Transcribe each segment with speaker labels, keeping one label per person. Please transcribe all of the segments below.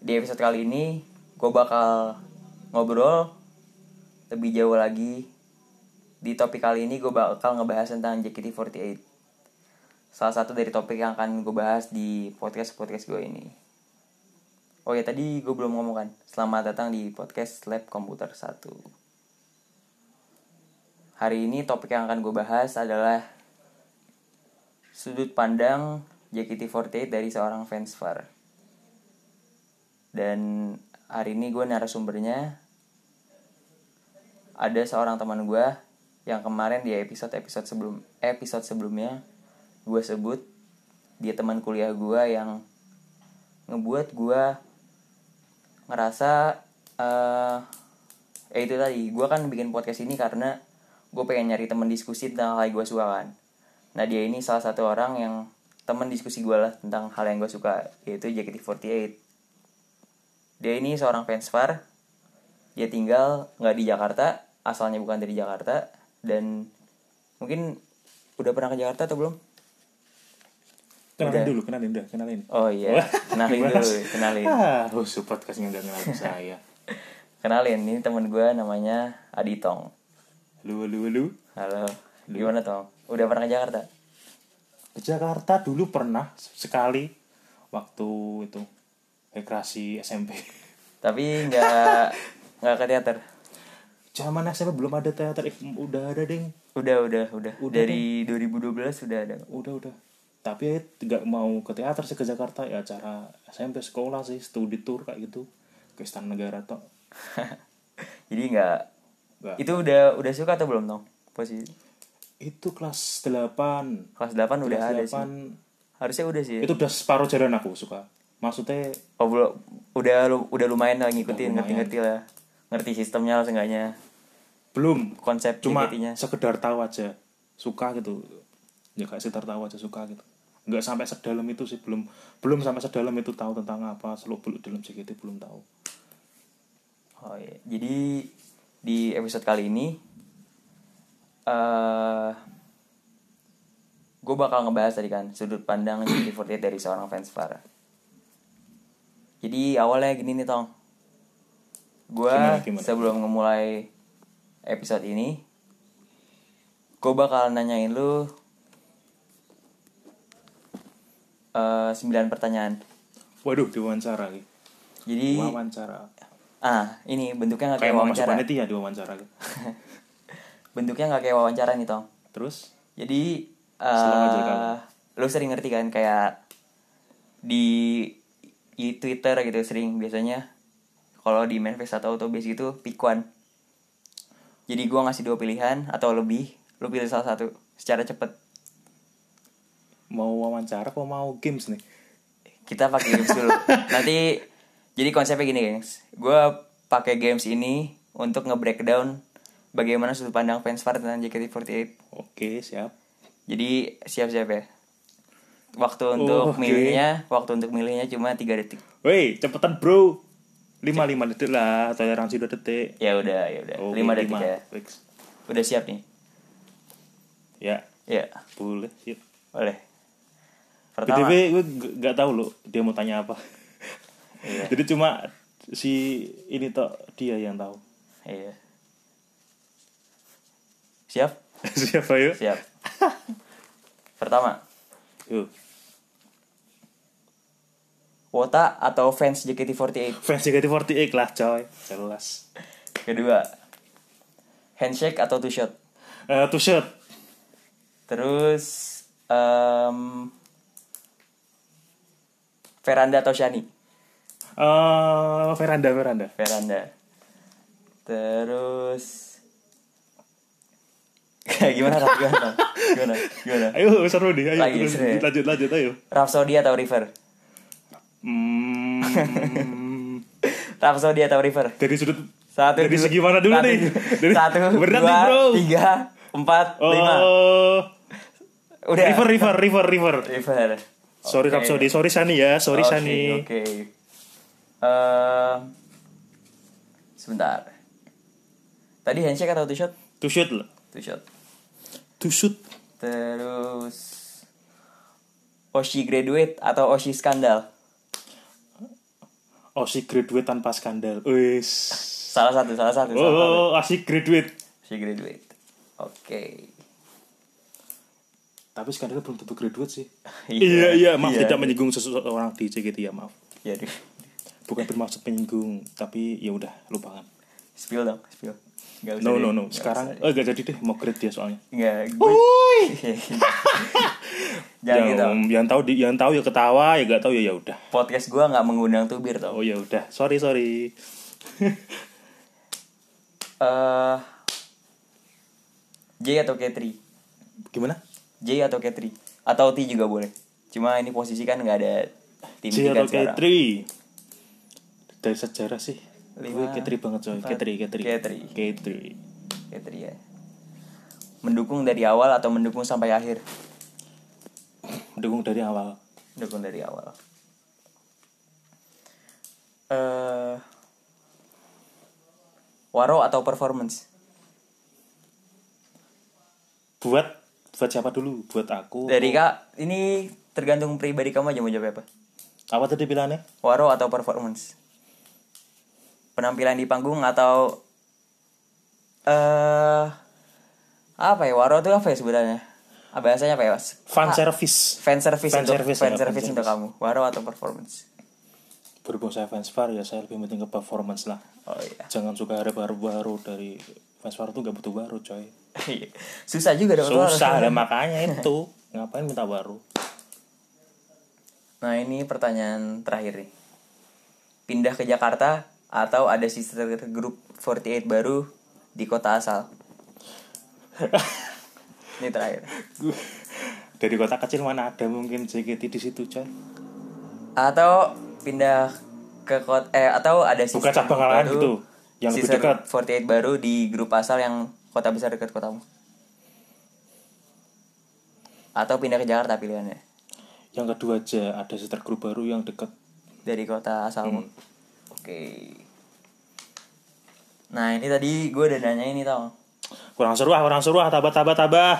Speaker 1: Di episode kali ini gue bakal ngobrol lebih jauh lagi. Di topik kali ini gue bakal ngebahas tentang JKT48. Salah satu dari topik yang akan gue bahas di podcast-podcast gue ini. Oh ya tadi gue belum ngomong kan. Selamat datang di podcast Lab Komputer 1. Hari ini topik yang akan gue bahas adalah sudut pandang JKT48 dari seorang fans VAR. Dan hari ini gue narasumbernya ada seorang teman gue yang kemarin di episode episode sebelum episode sebelumnya gue sebut dia teman kuliah gue yang ngebuat gue ngerasa eh ya itu tadi gue kan bikin podcast ini karena gue pengen nyari temen diskusi tentang hal yang gue suka kan nah dia ini salah satu orang yang temen diskusi gue lah tentang hal yang gue suka yaitu JKT48 dia ini seorang fans far dia tinggal nggak di Jakarta asalnya bukan dari Jakarta dan mungkin udah pernah ke Jakarta atau belum
Speaker 2: Kenalin
Speaker 1: Udah.
Speaker 2: dulu, kenalin udah, kenalin.
Speaker 1: oh iya kenalin
Speaker 2: Gimana
Speaker 1: dulu
Speaker 2: sih?
Speaker 1: kenalin
Speaker 2: Ah, khusus podcastnya nggak kenalin saya.
Speaker 1: kenalin ini temen gue namanya Aditong
Speaker 2: Lu, lu, lu.
Speaker 1: halo gimana Tong udah pernah ke Jakarta
Speaker 2: Ke Jakarta dulu pernah sekali waktu itu rekreasi SMP.
Speaker 1: tapi nggak nggak ke teater
Speaker 2: Zaman SMP belum ada teater, eh, udah ada deh.
Speaker 1: udah udah udah,
Speaker 2: kan?
Speaker 1: dari 2012 sudah ada
Speaker 2: Udah, udah. Tapi ya nggak mau ke teater sih ke Jakarta ya acara SMP sekolah sih, studi tour kayak gitu ke Istana Negara toh.
Speaker 1: jadi nggak
Speaker 2: Nggak.
Speaker 1: itu udah udah suka atau belum Tong posisi
Speaker 2: Itu kelas 8.
Speaker 1: kelas 8 udah ada sih
Speaker 2: Kelas 8
Speaker 1: harusnya udah sih
Speaker 2: itu udah separuh jalan aku suka. Maksudnya
Speaker 1: oh belum udah lu- udah lumayan lah ngikutin ngerti-ngerti lah ngerti sistemnya lah seenggaknya
Speaker 2: belum
Speaker 1: konsep
Speaker 2: cuma
Speaker 1: JKT-nya
Speaker 2: sekedar tahu aja suka gitu ya kayak sekedar tahu aja suka gitu nggak sampai sedalam itu sih belum belum sampai sedalam itu tahu tentang apa seluk beluk dalam JKT belum tahu
Speaker 1: Oh iya. Jadi di episode kali ini eh gue bakal ngebahas tadi kan sudut pandang JKT48 dari seorang fans Farah. Jadi awalnya gini nih Tong. Gue
Speaker 2: Gimana, gimana?
Speaker 1: sebelum memulai episode ini gue bakal nanyain lu eh 9 pertanyaan.
Speaker 2: waduh diwawancara lagi
Speaker 1: Jadi
Speaker 2: wawancara
Speaker 1: ah ini bentuknya nggak
Speaker 2: kayak
Speaker 1: kayak
Speaker 2: mau masuk
Speaker 1: Iya. wawancara.
Speaker 2: panitia di wawancara gitu.
Speaker 1: bentuknya nggak kayak wawancara nih tong
Speaker 2: terus
Speaker 1: jadi
Speaker 2: Silakan, silakan.
Speaker 1: eh lo sering ngerti kan kayak di, di Twitter gitu sering biasanya kalau di manifest atau autobase gitu pick one jadi gua ngasih dua pilihan atau lebih lo pilih salah satu secara cepet
Speaker 2: mau wawancara kok mau games nih
Speaker 1: kita pakai games dulu nanti jadi konsepnya gini gengs gua pakai games ini untuk nge-breakdown bagaimana sudut pandang fans VAR tentang JKT48
Speaker 2: oke siap
Speaker 1: Jadi siap-siap ya. Waktu
Speaker 2: Oh,
Speaker 1: untuk
Speaker 2: oke.
Speaker 1: milihnya, waktu untuk milihnya cuma 3 detik.
Speaker 2: woi cepetan bro lima lima detik lah toleransi dua detik
Speaker 1: Ya udah, ya udah.
Speaker 2: Oke,
Speaker 1: 5 detik ya.
Speaker 2: fix.
Speaker 1: Udah siap nih.
Speaker 2: ya
Speaker 1: Ya,
Speaker 2: boleh siap
Speaker 1: boleh. Pertama.
Speaker 2: BTW gue g- gak tahu loh dia mau tanya apa.
Speaker 1: Iya.
Speaker 2: Jadi cuma si ini tok dia yang tahu.
Speaker 1: Iya. Siap?
Speaker 2: Siapa yuk?
Speaker 1: Siap. Pertama,
Speaker 2: Yuk.
Speaker 1: Wota atau fans JKT48?
Speaker 2: Fans JKT48 lah coy, jelas.
Speaker 1: Kedua, handshake atau two shot?
Speaker 2: Eh two shot.
Speaker 1: Terus em Veranda atau Shani?
Speaker 2: Eh veranda veranda.
Speaker 1: veranda terus gimana Raf? gimana Raf? gimana gimana
Speaker 2: Ayo seru nih, ayo
Speaker 1: Lagi
Speaker 2: terus
Speaker 1: seru ya?
Speaker 2: lanjut lanjut ayo.
Speaker 1: Rhapsody atau River
Speaker 2: Hmm,
Speaker 1: Rhapsody atau River
Speaker 2: dari sudut
Speaker 1: satu
Speaker 2: dari
Speaker 1: dua-
Speaker 2: segi mana dulu
Speaker 1: satu,
Speaker 2: nih? Dari,
Speaker 1: satu
Speaker 2: berat
Speaker 1: dua
Speaker 2: nih bro.
Speaker 1: tiga empat lima
Speaker 2: Oh,
Speaker 1: udah
Speaker 2: river river river river.
Speaker 1: River
Speaker 2: Sorry
Speaker 1: Oke.
Speaker 2: Rhapsody, sorry Sani ya, sorry
Speaker 1: Oke,
Speaker 2: Sani.
Speaker 1: oke Em, sebentar tadi handshake atau two shot
Speaker 2: Two shoot lah.
Speaker 1: two shot
Speaker 2: Two shoot.
Speaker 1: Terus Oshi graduate atau Oshi skandal?
Speaker 2: Osi Oh, graduate tanpa skandal. Wis.
Speaker 1: Salah satu, salah satu. salah satu.
Speaker 2: Oh, Osi graduate.
Speaker 1: She graduate. Oke.
Speaker 2: Tapi skandalnya belum tentu graduate sih.
Speaker 1: Iya.
Speaker 2: iya, iya, maaf
Speaker 1: Iya.
Speaker 2: tidak menyinggung seseorang di CGT ya, maaf.
Speaker 1: Ya aduh.
Speaker 2: Bukan bermaksud menyinggung, tapi ya udah lupakan.
Speaker 1: Spill dong, spill. Gak usah
Speaker 2: No,
Speaker 1: deh,
Speaker 2: no, no.
Speaker 1: gak
Speaker 2: Sekarang
Speaker 1: usah deh.
Speaker 2: eh gak jadi deh mau grade dia soalnya.
Speaker 1: Nggak, gue... Jangan gitu.
Speaker 2: yang, Ya, um, yang tahu di- yang tahu ya ketawa, ya gak tahu ya ya udah.
Speaker 1: Podcast gue nggak mengundang tubir tau.
Speaker 2: Oh ya udah. Sorry, sorry.
Speaker 1: Eh, J atau K3?
Speaker 2: Gimana?
Speaker 1: J atau K3? Atau T juga boleh. Cuma ini posisi kan nggak ada tim
Speaker 2: J
Speaker 1: T
Speaker 2: atau
Speaker 1: kan
Speaker 2: K3?
Speaker 1: sekarang.
Speaker 2: Dari sejarah sih. Gue
Speaker 1: Lima,
Speaker 2: K3 banget coy. K3, K3.
Speaker 1: K3.
Speaker 2: K3.
Speaker 1: K3 ya. Mendukung dari awal atau mendukung sampai akhir?
Speaker 2: Mendukung dari awal.
Speaker 1: Mendukung dari awal. eh waro atau performance?
Speaker 2: Buat buat siapa dulu? Buat aku.
Speaker 1: Dari kak, ini tergantung pribadi kamu aja mau jawab apa.
Speaker 2: Apa tadi pilihannya?
Speaker 1: Waro atau performance? Penampilan di panggung atau eh apa ya? Waro itu apa ya sebenarnya? Ah, Bahasanya apa ya? Mas?
Speaker 2: Fan service.
Speaker 1: Fan service
Speaker 2: Fan
Speaker 1: untuk
Speaker 2: service,
Speaker 1: fan
Speaker 2: ya, fan
Speaker 1: service untuk kamu. Waro atau performance?
Speaker 2: Berhubung saya fans VAR ya saya lebih penting ke performance lah.
Speaker 1: Oh iya.
Speaker 2: Jangan suka harap baru-baru dari fans VAR tuh gak butuh baru coy.
Speaker 1: Iya. Susah juga dong. Waro.
Speaker 2: Susah lah makanya itu. Ngapain minta baru?
Speaker 1: Nah, ini pertanyaan terakhir nih. Pindah ke Jakarta atau ada sister group 48 baru di kota asal? ini terakhir.
Speaker 2: Dari kota kecil mana ada mungkin JKT di situ coy.
Speaker 1: Atau pindah ke kota eh atau ada sister
Speaker 2: Bukan cabang
Speaker 1: group
Speaker 2: lain
Speaker 1: baru,
Speaker 2: gitu. Yang lebih
Speaker 1: sister 48
Speaker 2: dekat.
Speaker 1: baru di grup asal yang kota besar dekat kotamu. Atau pindah ke Jakarta pilihannya
Speaker 2: Yang kedua aja ada sister group baru yang deket
Speaker 1: dari kota asalmu. Oke. Nah ini tadi gue udah nanya ini tau
Speaker 2: kurang seru ah kurang seru ah tabah tabah tabah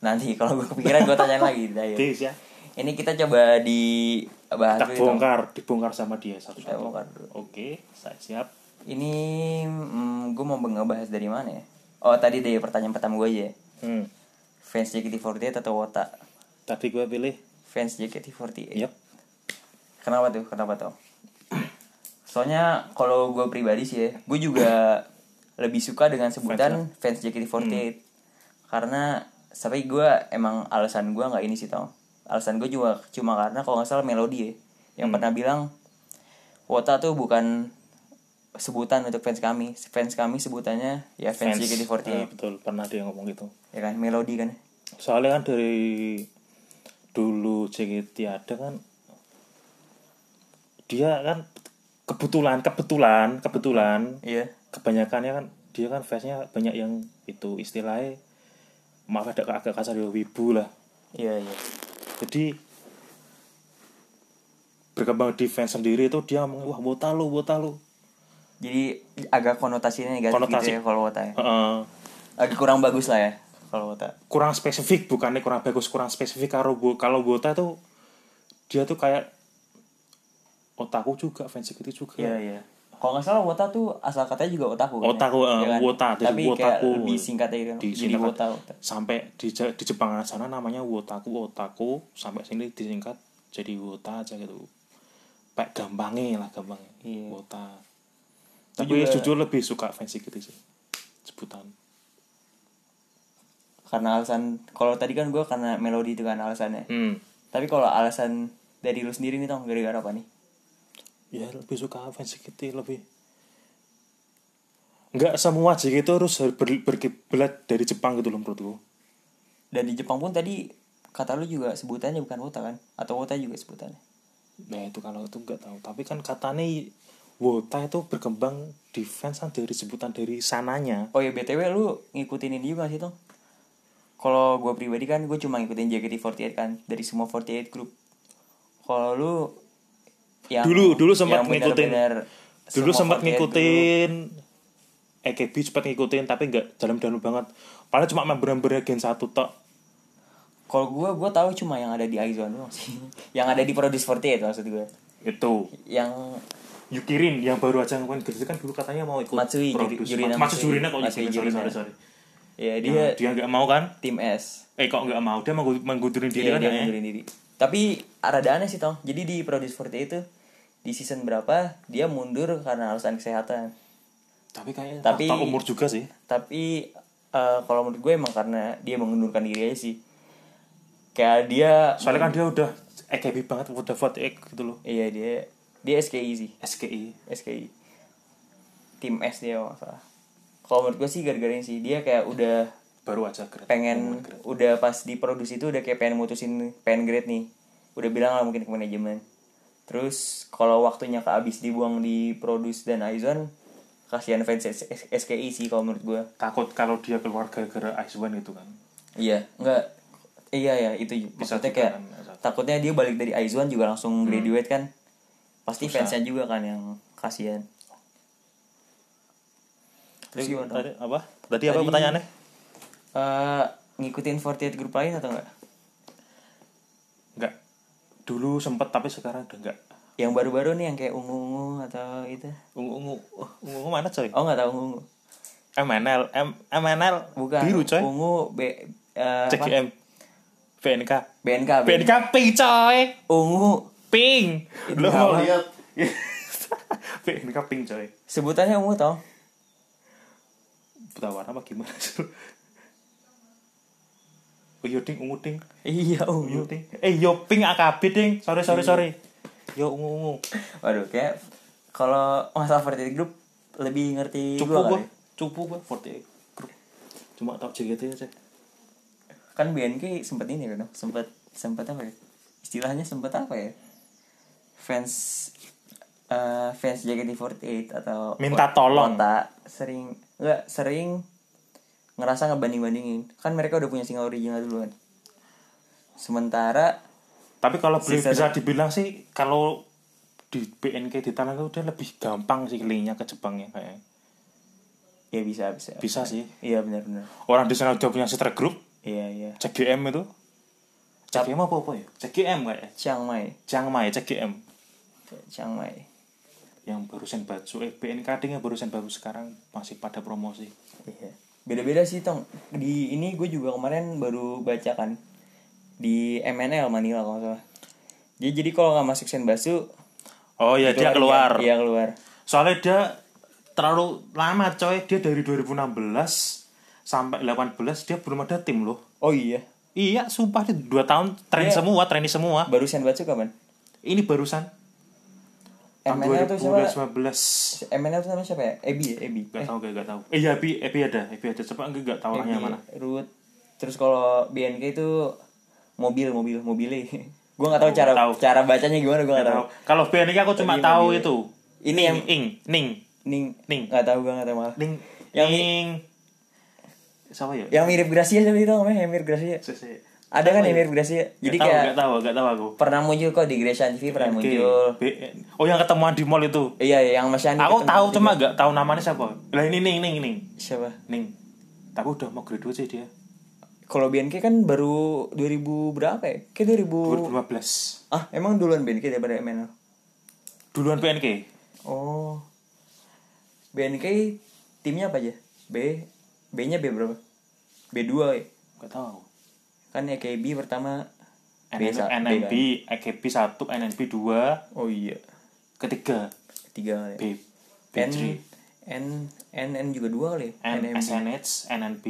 Speaker 1: Nanti kalau gue kepikiran gue tanyain lagi di akhir.
Speaker 2: Dis ya
Speaker 1: Ini kita coba di bahas
Speaker 2: tak
Speaker 1: dulu, Tong.
Speaker 2: bongkar dibongkar sama dia satu
Speaker 1: Kita
Speaker 2: satu
Speaker 1: bongkar dulu.
Speaker 2: oke saya siap
Speaker 1: Ini gue mau ngebahas dari mana ya? Oh tadi dari pertanyaan pertama gue aja. ya.
Speaker 2: hmm.
Speaker 1: Fans JKT48 atau Wota?
Speaker 2: tadi gue pilih
Speaker 1: Fans JKT48.
Speaker 2: yep
Speaker 1: Kenapa tuh? Kenapa tuh? Soalnya kalau gue pribadi sih ya, gue juga lebih suka dengan sebutan fans ya? Hmm. JKT48 karena sampai gue emang alasan gue nggak ini sih tau. Alasan gue juga cuma karena kalau nggak salah melodi ya, yang pernah bilang Wota tuh bukan sebutan untuk fans kami, fans kami sebutannya ya fans,
Speaker 2: Ah,
Speaker 1: JKT48
Speaker 2: betul pernah dia ngomong gitu
Speaker 1: ya kan melodi kan.
Speaker 2: soalnya kan dari dulu JKT ada kan dia kan kebetulan kebetulan kebetulan
Speaker 1: Iya.
Speaker 2: kebanyakannya kan dia kan fansnya banyak yang itu istilahnya maaf ada agak kasar ya wibu lah
Speaker 1: Iya iya.
Speaker 2: jadi berkembang di fans sendiri itu dia ngomong wah bota lu bota lu
Speaker 1: Jadi agak konotasinya negatif
Speaker 2: Konotasi.
Speaker 1: gitu ya kalau Wota ya.
Speaker 2: Heeh.
Speaker 1: Agak kurang bagus lah ya kalau Wota.
Speaker 2: kurang spesifik bukannya kurang bagus kurang spesifik kalau bo- kalau bota tuh dia tuh kayak otaku juga fans gitu juga
Speaker 1: Iya iya. Kalau nggak salah wota tuh asal katanya juga otaku. kan ya?
Speaker 2: Otaku, eh,
Speaker 1: Iya kan?
Speaker 2: wota, jadi
Speaker 1: Tapi kayak
Speaker 2: wotaku.
Speaker 1: lebih singkat aja kan.
Speaker 2: Di
Speaker 1: jadi
Speaker 2: singkat.
Speaker 1: wota, wota.
Speaker 2: sampai di Ja- di Jepang sana namanya wotaku otaku sampai sini disingkat jadi wota aja gitu kayak gampangnya lah gampangnya
Speaker 1: Iya.
Speaker 2: wota
Speaker 1: Itu
Speaker 2: tapi ya
Speaker 1: juga-
Speaker 2: jujur lebih suka fans gitu sih sebutan
Speaker 1: Karena alasan kalau tadi kan gue karena melodi itu kan alasannya.
Speaker 2: hmm.
Speaker 1: Tapi kalau alasan dari lu sendiri nih tong gara-gara apa nih?
Speaker 2: ya lebih suka fans JKT lebih nggak semua JKT itu harus ber, berkiblat dari Jepang gitu loh menurutku
Speaker 1: Dan di Jepang pun tadi kata lu juga sebutannya bukan wota kan? Atau wota juga sebutannya?
Speaker 2: nah itu kalau itu nggak tahu tapi kan katanya Wota itu berkembang di fans kan dari sebutan dari sananya
Speaker 1: Oh ya btw lu ngikutin ini juga sih tong. Kalau gue pribadi kan gue cuma ngikutin JKT48 kan dari semua 48 grup. Kalau lu yang
Speaker 2: Dulu- dulu sempat
Speaker 1: yang
Speaker 2: ngikutin.
Speaker 1: benar-benar
Speaker 2: dulu
Speaker 1: semua 48
Speaker 2: sempat
Speaker 1: grup.
Speaker 2: ngikutin EKB sempat ngikutin tapi nggak dalam-dalam banget paling cuma member-member Gen satu tok
Speaker 1: Kalau gue, gue tahu cuma yang ada di Aizone doang sih. yang ada di Produce 48 maksud gue.
Speaker 2: itu
Speaker 1: Yang
Speaker 2: Yukirin yang baru aja ngapain gitu kan dulu katanya mau ikut
Speaker 1: Matsui,
Speaker 2: produce.
Speaker 1: Yuri- Yurina
Speaker 2: Matsui
Speaker 1: Matsui.
Speaker 2: Yurina kok
Speaker 1: Matsui
Speaker 2: Yurina, sorry
Speaker 1: Yurina.
Speaker 2: sorry sorry
Speaker 1: ya
Speaker 2: Nah,
Speaker 1: dia
Speaker 2: dia nggak mau kan
Speaker 1: tim S
Speaker 2: eh kok nggak mau dia menggu- menggundurin diri
Speaker 1: Iya,
Speaker 2: kan
Speaker 1: dia
Speaker 2: ya
Speaker 1: ngundurin diri. Tapi rada aneh sih Tong. Jadi di Produce 40 itu di season berapa dia mundur karena alasan kesehatan.
Speaker 2: tapi kayaknya
Speaker 1: Tapi-
Speaker 2: faktor umur juga sih
Speaker 1: Tapi eh, kalau menurut gue emang karena dia mengundurkan diri aja sih. Kayak dia
Speaker 2: soalnya kan dia udah EKB banget udah vote ek gitu loh
Speaker 1: iya dia dia SKI sih,
Speaker 2: SKI
Speaker 1: SKI. Tim S dia kalau nggak salah. Kalau menurut gue sih gara-gara ini sih dia kayak udah
Speaker 2: baru aja grade
Speaker 1: pengen udah pas di produksi itu udah kayak pengen mutusin pengen grade nih udah bilang lah mungkin ke manajemen terus kalau waktunya kehabis dibuang di produce dan Aizon kasihan fans S- S- SKI sih kalau menurut gua
Speaker 2: takut kalau dia keluar gara-gara Ice One gitu kan
Speaker 1: iya enggak iya ya itu maksudnya kayak
Speaker 2: juga kan, satu.
Speaker 1: takutnya dia balik dari Aizon juga langsung graduate kan pasti fansnya juga kan yang kasihan terus gimana Tom?
Speaker 2: Iya, tadi apa tadi apa
Speaker 1: Tadi-
Speaker 2: pertanyaannya
Speaker 1: Eh, ngikutin 48 grup lain atau enggak
Speaker 2: enggak dulu sempet tapi sekarang udah enggak
Speaker 1: yang baru-baru nih yang kayak ungu-ungu atau itu
Speaker 2: ungu ungu ungu ungu mana coy
Speaker 1: oh nggak tahu ungu
Speaker 2: MNL M MNL
Speaker 1: bukan
Speaker 2: biru coy ya.
Speaker 1: ungu b eh, apa?
Speaker 2: CGM PNK
Speaker 1: BNK
Speaker 2: PNK pink coy
Speaker 1: ungu
Speaker 2: pink
Speaker 1: Itu
Speaker 2: lo mau
Speaker 1: apa?
Speaker 2: lihat PNK pink coy
Speaker 1: sebutannya ungu tau
Speaker 2: buta warna apa gimana sih Oh iya ding ungu ding
Speaker 1: iya
Speaker 2: Yo
Speaker 1: ungu
Speaker 2: ding. Eh yo pink AKB ding. Sorry sorry sorry. Yo Iya. ungu ungu.
Speaker 1: waduh kayak kalau masalah vertical group lebih ngerti
Speaker 2: Cupu
Speaker 1: gua
Speaker 2: gua.
Speaker 1: kali.
Speaker 2: Cupu gua 48 grup. Cuma tau JGT aja.
Speaker 1: kan BNK sempet ini kan sempet sempet apa ya istilahnya sempet apa ya fans eh fans JKT48 atau
Speaker 2: Minta tolong.
Speaker 1: Wota sering enggak sering ngerasa ngebanding bandingin kan mereka udah punya single original duluan sementara
Speaker 2: Tapi kalau boleh
Speaker 1: Sisa-
Speaker 2: bisa dibilang sih kalau di BNK di tanah itu udah lebih gampang sih linknya ke Jepangnya kayaknya.
Speaker 1: ya bisa bisa
Speaker 2: Bisa sih.
Speaker 1: iya benar benar
Speaker 2: Orang di sana udah punya sister group
Speaker 1: iya iya
Speaker 2: CGM itu. CGM apa apa ya? CGM kayaknya.
Speaker 1: Chiang Mai
Speaker 2: Chiang Mai CGM
Speaker 1: Chiang Mai
Speaker 2: yang barusan baju eh BNK ding yang barusan baru sekarang masih pada promosi.
Speaker 1: Iya. Beda-beda sih tong. Di ini gue juga kemarin baru baca kan di MNL Manila kalau nggak salah. Jadi jadi kalau nggak masuk Senbasu
Speaker 2: Oh iya dia keluar.
Speaker 1: Iya keluar.
Speaker 2: Soalnya dia terlalu lama coy, dia dari 2016 sampai 18 dia belum ada tim loh.
Speaker 1: Oh iya.
Speaker 2: Iya, sumpah di 2 tahun tren semua, trainee semua.
Speaker 1: Baru Senbasu kapan?
Speaker 2: Ini barusan tahun
Speaker 1: MNL tuh siapa?
Speaker 2: 2019.
Speaker 1: MNL tuh nama siapa ya? Ebi ya, Ebi.
Speaker 2: Gak tau, gak, gak tau. Eh, iya, Ebi, Ebi ada, Ebi ada. Coba enggak, gak tau orangnya
Speaker 1: Ebi,
Speaker 2: mana.
Speaker 1: Ruth. Terus kalau BNK itu mobil mobil mobile. gue nggak tahu cara
Speaker 2: Oh, tahu.
Speaker 1: cara bacanya gimana gue nggak tahu.
Speaker 2: Kalau BNK aku cuma tahu itu.
Speaker 1: Ini
Speaker 2: Ning,
Speaker 1: yang-
Speaker 2: Ing, Ning,
Speaker 1: Ning
Speaker 2: Ning.
Speaker 1: nggak tahu gue nggak tahu malah.
Speaker 2: Ning,
Speaker 1: Yang-
Speaker 2: Ning. Siapa ya?
Speaker 1: Yang mirip Gracia tadi itu namanya yang mirip Gracia.
Speaker 2: Sese.
Speaker 1: Ada
Speaker 2: Oh,
Speaker 1: kan
Speaker 2: iya.
Speaker 1: yang mirip Gracia? Jadi
Speaker 2: Gak tau,
Speaker 1: kayak
Speaker 2: gak tau, gak tau aku.
Speaker 1: pernah muncul kok di Gracia TV pernah
Speaker 2: Oke.
Speaker 1: muncul
Speaker 2: B- Oh, yang ketemuan di mall itu.
Speaker 1: iya iya, yang Mas Yani
Speaker 2: aku
Speaker 1: ketemu
Speaker 2: tahu
Speaker 1: tiga.
Speaker 2: cuma gak tahu namanya siapa lah ini ning ning ning
Speaker 1: siapa
Speaker 2: ning tapi udah mau graduate sih dia
Speaker 1: kalau BNK kan baru 2000 berapa ya kayak 2000
Speaker 2: 2015
Speaker 1: ah emang duluan BNK daripada MNL
Speaker 2: duluan PNK
Speaker 1: oh BNK timnya apa aja B B nya B berapa B2 ya
Speaker 2: gak tahu
Speaker 1: kan EKB pertama B sa-
Speaker 2: NNB
Speaker 1: B kan?
Speaker 2: AKB 1 NNB 2
Speaker 1: oh iya
Speaker 2: ketiga
Speaker 1: ketiga kali ya.
Speaker 2: B
Speaker 1: N
Speaker 2: B3
Speaker 1: N N N juga dua kali ya?
Speaker 2: N
Speaker 1: NMB.
Speaker 2: SNH NNB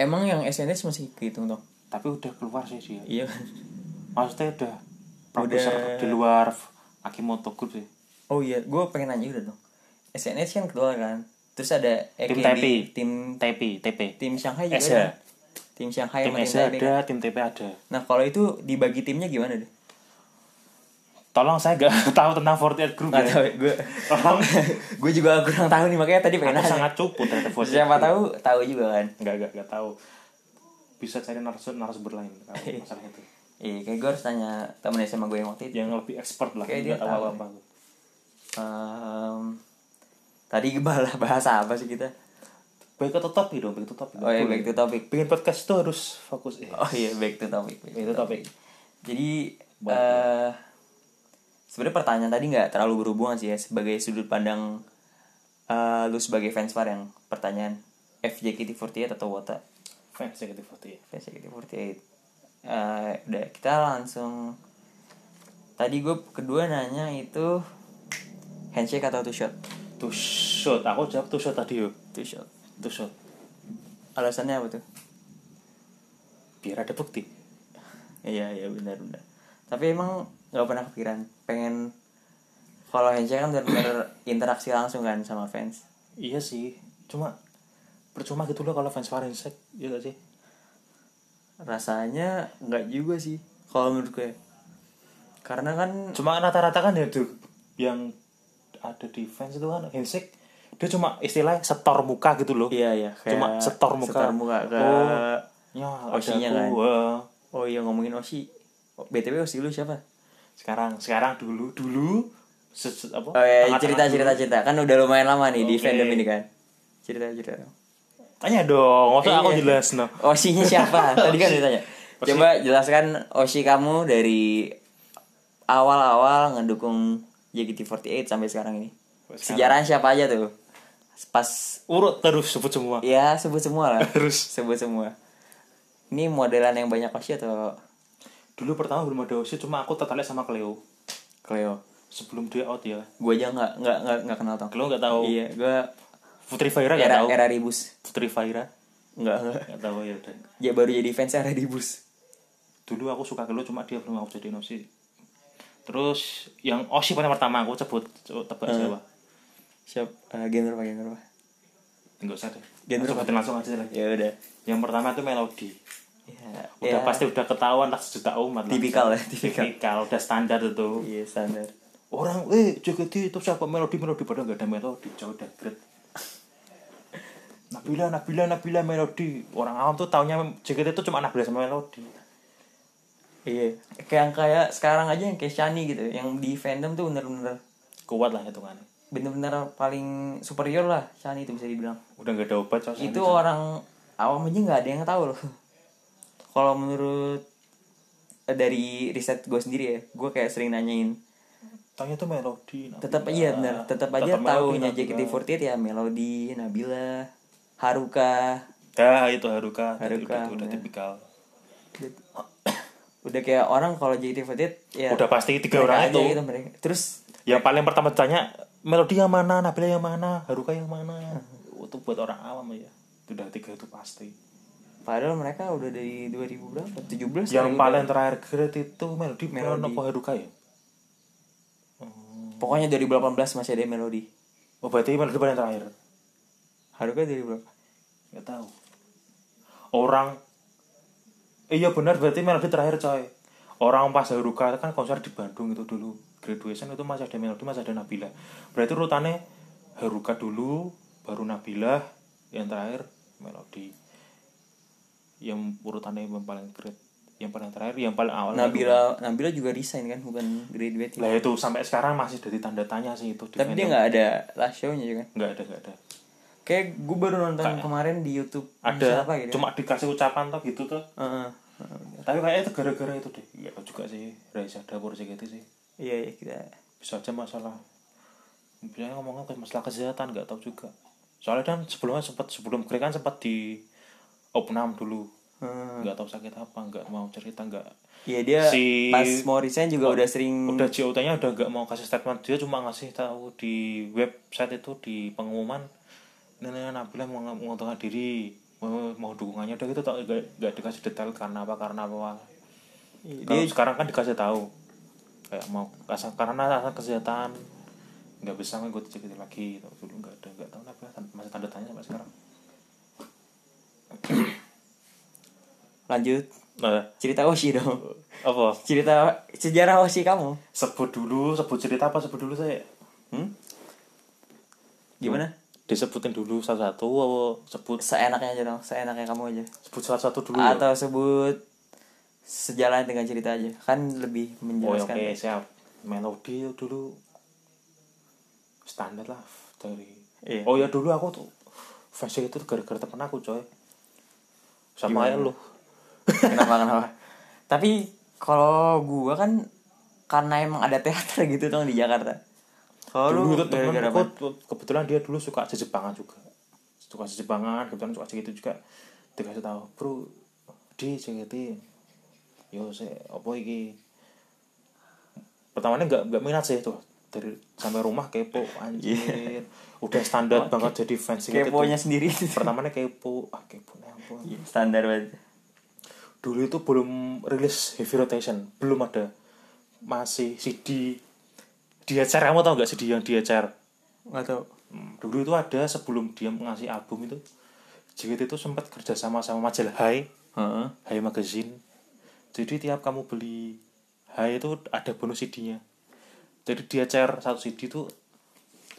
Speaker 1: emang yang SNS masih kehitung dong
Speaker 2: tapi udah keluar sih dia
Speaker 1: iya kan
Speaker 2: maksudnya udah produser di luar Akimoto Group sih
Speaker 1: Oh iya, gue pengen nanya udah dong. SNS kan keluar kan. Terus ada
Speaker 2: Tim
Speaker 1: EKB,
Speaker 2: TP.
Speaker 1: tim
Speaker 2: TP TP
Speaker 1: tim Shanghai juga
Speaker 2: Esa.
Speaker 1: ada. Tim Shanghai
Speaker 2: tim
Speaker 1: sama tim
Speaker 2: S
Speaker 1: Taipei.
Speaker 2: ada tim TP ada
Speaker 1: Nah, kalau itu dibagi timnya gimana deh?
Speaker 2: tolong saya gak tahu tentang 48 Group
Speaker 1: Nggak tahu
Speaker 2: ya
Speaker 1: gue.
Speaker 2: tolong
Speaker 1: gue juga kurang tahu nih makanya tadi pengen
Speaker 2: Aku
Speaker 1: nanya.
Speaker 2: sangat cupu terhadap voice
Speaker 1: Siapa tahu tahu juga kan.
Speaker 2: nggak nggak nggak tahu bisa cari narasum narasumber lain kalau masalah itu
Speaker 1: Iya, kayak gue harus tanya temen SMA gue yang waktu itu.
Speaker 2: yang lebih expert lah
Speaker 1: Kayak dia
Speaker 2: nggak tahu
Speaker 1: tahu
Speaker 2: apa apa
Speaker 1: Ehm, tadi balah bahasa apa sih kita?
Speaker 2: baik atau topik dong baik atau topik
Speaker 1: Oh iya, back to topic.
Speaker 2: bikin podcast itu harus fokus eh.
Speaker 1: Oh iya, back to topic. Back to
Speaker 2: itu topik
Speaker 1: Jadi eh
Speaker 2: Baik.
Speaker 1: sebenarnya pertanyaan tadi nggak terlalu berhubungan sih ya sebagai sudut pandang eh, lu sebagai fans VAR yang pertanyaan FJKT48 atau Wota
Speaker 2: fans JKT48
Speaker 1: fans JKT48 Eh, udah kita langsung tadi gue kedua nanya itu handshake atau two shot
Speaker 2: two shot aku jawab two shot tadi yo
Speaker 1: two shot
Speaker 2: two shot
Speaker 1: alasannya apa tuh
Speaker 2: biar ada bukti
Speaker 1: Iya iya benar benar. Tapi emang nggak pernah kepikiran pengen kalau handshake kan benar-benar interaksi langsung kan sama fans.
Speaker 2: iya sih cuma percuma gitu loh kalau fans Farinsek ya gak sih
Speaker 1: Rasanya nggak juga sih kalau menurut gue. Karena kan
Speaker 2: cuma rata-rata kan ya tuh yang ada di fans itu kan handshake dia cuma istilah setor muka gitu loh
Speaker 1: iya iya kayak
Speaker 2: cuma setor muka
Speaker 1: setor muka ke
Speaker 2: oh, ya ada
Speaker 1: osinya kan.
Speaker 2: gua.
Speaker 1: Oh iya ngomongin Oshi. Oh, BTW Oshi lu siapa?
Speaker 2: sekarang sekarang dulu dulu se- se- apa
Speaker 1: Oh iya,
Speaker 2: tengah-tengah
Speaker 1: cerita
Speaker 2: dulu.
Speaker 1: cerita cerita kan udah lumayan lama nih di
Speaker 2: Oke.
Speaker 1: fandom ini kan. Cerita cerita.
Speaker 2: tanya dong maksud aku
Speaker 1: Iya.
Speaker 2: jelas no
Speaker 1: Oshinya siapa? Tadi kan ditanya.
Speaker 2: Oshi.
Speaker 1: Coba jelaskan Oshi kamu dari awal-awal ngedukung JKT48 sampai sekarang ini.
Speaker 2: Sampai
Speaker 1: Sejarah siapa aja tuh? Pas
Speaker 2: urut terus sebut semua
Speaker 1: ya sebut semua lah.
Speaker 2: terus
Speaker 1: Sebut semua. Ini modelan yang banyak Oshi atau
Speaker 2: dulu pertama belum ada Osi cuma aku tertarik sama Cleo
Speaker 1: Cleo?
Speaker 2: sebelum dia out ya
Speaker 1: Gue aja nggak nggak nggak nggak kenal tau.
Speaker 2: Cleo nggak tahu
Speaker 1: Iya, gue
Speaker 2: Putri Faira nggak
Speaker 1: era
Speaker 2: tahu
Speaker 1: era ribus.
Speaker 2: Putri Faira
Speaker 1: Nggak nggak.
Speaker 2: nggak tahu ya udah
Speaker 1: Ya baru jadi fans era ribus.
Speaker 2: dulu aku suka Cleo cuma dia belum aku jadi Osi terus yang Osi paling pertama aku sebut coba tebak
Speaker 1: Eh.
Speaker 2: siapa
Speaker 1: Siap. eh, genre apa genre apa?
Speaker 2: enggak usah deh
Speaker 1: Genre
Speaker 2: langsung, sebutin langsung aja lah
Speaker 1: Ya udah.
Speaker 2: yang pertama itu Melody
Speaker 1: Ya,
Speaker 2: udah
Speaker 1: ya,
Speaker 2: pasti udah ketahuan lah sejuta umat lah.
Speaker 1: Tipikal ya, tipikal.
Speaker 2: tipikal udah standar itu
Speaker 1: Iya standar.
Speaker 2: orang eh JKT itu siapa melodi melodi padahal gak ada melodi jauh udah great Nabila Nabila Nabila melodi orang awam tuh taunya JKT itu cuma Nabila sama melodi
Speaker 1: Iya, kayak yang kayak sekarang aja yang kayak Shani gitu, yang di fandom tuh bener-bener
Speaker 2: kuat lah hitungannya
Speaker 1: bener-bener paling superior lah Shani itu bisa dibilang.
Speaker 2: udah gak ada obat soalnya
Speaker 1: itu orang awam aja nggak ada yang tahu loh. Kalau menurut eh, dari riset gue sendiri ya, gue kayak sering nanyain.
Speaker 2: taunya tuh melodi Nabila.
Speaker 1: Tetap aja iya,
Speaker 2: Ah,
Speaker 1: bener, tetap aja
Speaker 2: Tetap Melody,
Speaker 1: tahunya
Speaker 2: Nabila.
Speaker 1: JKT48 ya Melody, Nabila, Haruka,
Speaker 2: dah itu Haruka
Speaker 1: Haruka,
Speaker 2: Haruka udah, udah tipikal
Speaker 1: udah kayak orang kalau JKT48 ya
Speaker 2: udah pasti
Speaker 1: mereka
Speaker 2: tiga orang
Speaker 1: aja
Speaker 2: itu
Speaker 1: gitu mereka. Terus
Speaker 2: yang paling pertama tanya melodi yang mana Nabila yang mana Haruka yang mana Oh, itu buat orang awam ya udah tiga itu pasti
Speaker 1: Padahal mereka udah dari 2000 berapa? ya. 17
Speaker 2: yang
Speaker 1: kali
Speaker 2: paling terakhir great itu melodi
Speaker 1: gitu. Melody.
Speaker 2: melodi apa Haruka ya
Speaker 1: udah. Pokoknya 2018 masih ada melodi.
Speaker 2: oh berarti melodi paling terakhir
Speaker 1: Haruka dari berapa?
Speaker 2: nggak tahu orang iya benar berarti melodi terakhir coy orang pas Haruka kan konser di Bandung itu dulu graduation itu masih ada melodi masih ada Nabila berarti rutannya Haruka dulu baru Nabila yang terakhir melodi yang urutannya yang paling great yang paling terakhir yang paling awal
Speaker 1: Nabila Nabila juga resign kan, bukan graduate. ya.
Speaker 2: lah itu sampai sekarang masih dari tanda tanya sih itu di
Speaker 1: Tapi dia
Speaker 2: fandom.
Speaker 1: nggak ada last show-nya juga kan.
Speaker 2: nggak ada nggak ada
Speaker 1: Kayak gue baru nonton kemarin di YouTube
Speaker 2: ada
Speaker 1: apa gitu.
Speaker 2: cuma dikasih ucapan toh gitu tuh
Speaker 1: Heeh.
Speaker 2: tapi kayaknya itu gara-gara itu deh ya juga sih Raisa Dapur JKT sih
Speaker 1: Iya, iya kita.
Speaker 2: bisa aja masalah biasanya ngomongnya ke masalah kesehatan nggak tahu juga soalnya kan sebelumnya sempat sebelum Grey kan sempat di opnam dulu
Speaker 1: Heeh.
Speaker 2: nggak tahu sakit apa nggak mau cerita nggak
Speaker 1: Iya dia
Speaker 2: Si- Oh,
Speaker 1: pas mau resign juga udah sering
Speaker 2: udah JOT-nya udah nggak mau kasih statement dia cuma ngasih tahu di website itu di pengumuman Nenek Nabila mau menguntungkan diri mau, mau dukungannya udah gitu tak nggak nggak dikasih detail karena apa karena apa Kalau
Speaker 1: Iya, dia
Speaker 2: sekarang kan dikasih tahu kayak mau asa- karena alasan kesehatan nggak bisa mengikuti JKT lagi gitu. dulu nggak ada nggak tahu kenapa tan- masih tanda tanya sampai sekarang
Speaker 1: lanjut
Speaker 2: nah
Speaker 1: cerita Oshi dong.
Speaker 2: apa
Speaker 1: Cerita sejarah Oshi kamu.
Speaker 2: sebut dulu sebut cerita apa sebut dulu saya
Speaker 1: Hmm? Gimana?
Speaker 2: disebutin dulu satu satu apa sebut
Speaker 1: Seenaknya aja dong, seenaknya kamu aja.
Speaker 2: sebut satu satu dulu ya?
Speaker 1: atau sebut sejalan dengan cerita aja kan lebih
Speaker 2: oh ya, oke
Speaker 1: menjelaskan
Speaker 2: siap melodi dulu standar lah dari
Speaker 1: Iya.
Speaker 2: oh ya dulu aku tuh fans itu gara-gara temen aku coy sama aja lu
Speaker 1: kenapa kenapa tapi kalau gua kan karena emang ada teater gitu dong di Jakarta kalau
Speaker 2: dulu
Speaker 1: Oh, lu
Speaker 2: tuh temen
Speaker 1: gara-gara
Speaker 2: aku
Speaker 1: apa?
Speaker 2: tuh, kebetulan dia dulu suka sejepangan juga suka sejepangan kebetulan suka segitu juga dikasih tahu bro di JKT yo se opo iki pertamanya nggak nggak minat sih tuh dari sampai rumah kepo
Speaker 1: Iya.
Speaker 2: anjir udah standar banget jadi fans JKT tuh.
Speaker 1: Oh, keponya sendiri
Speaker 2: pertamanya kepo ah kepo ya ampun
Speaker 1: Iya, standar banget
Speaker 2: dulu itu belum rilis heavy rotation belum ada masih CD DHR kamu tau gak CD yang DHR
Speaker 1: nggak tahu
Speaker 2: Hmm, dulu itu ada sebelum dia ngasih album itu JKT itu sempat kerja sama sama majalah Hai
Speaker 1: Heeh.
Speaker 2: Hai Magazine jadi tiap kamu beli Hai itu ada bonus CD-nya jadi dia share satu CD itu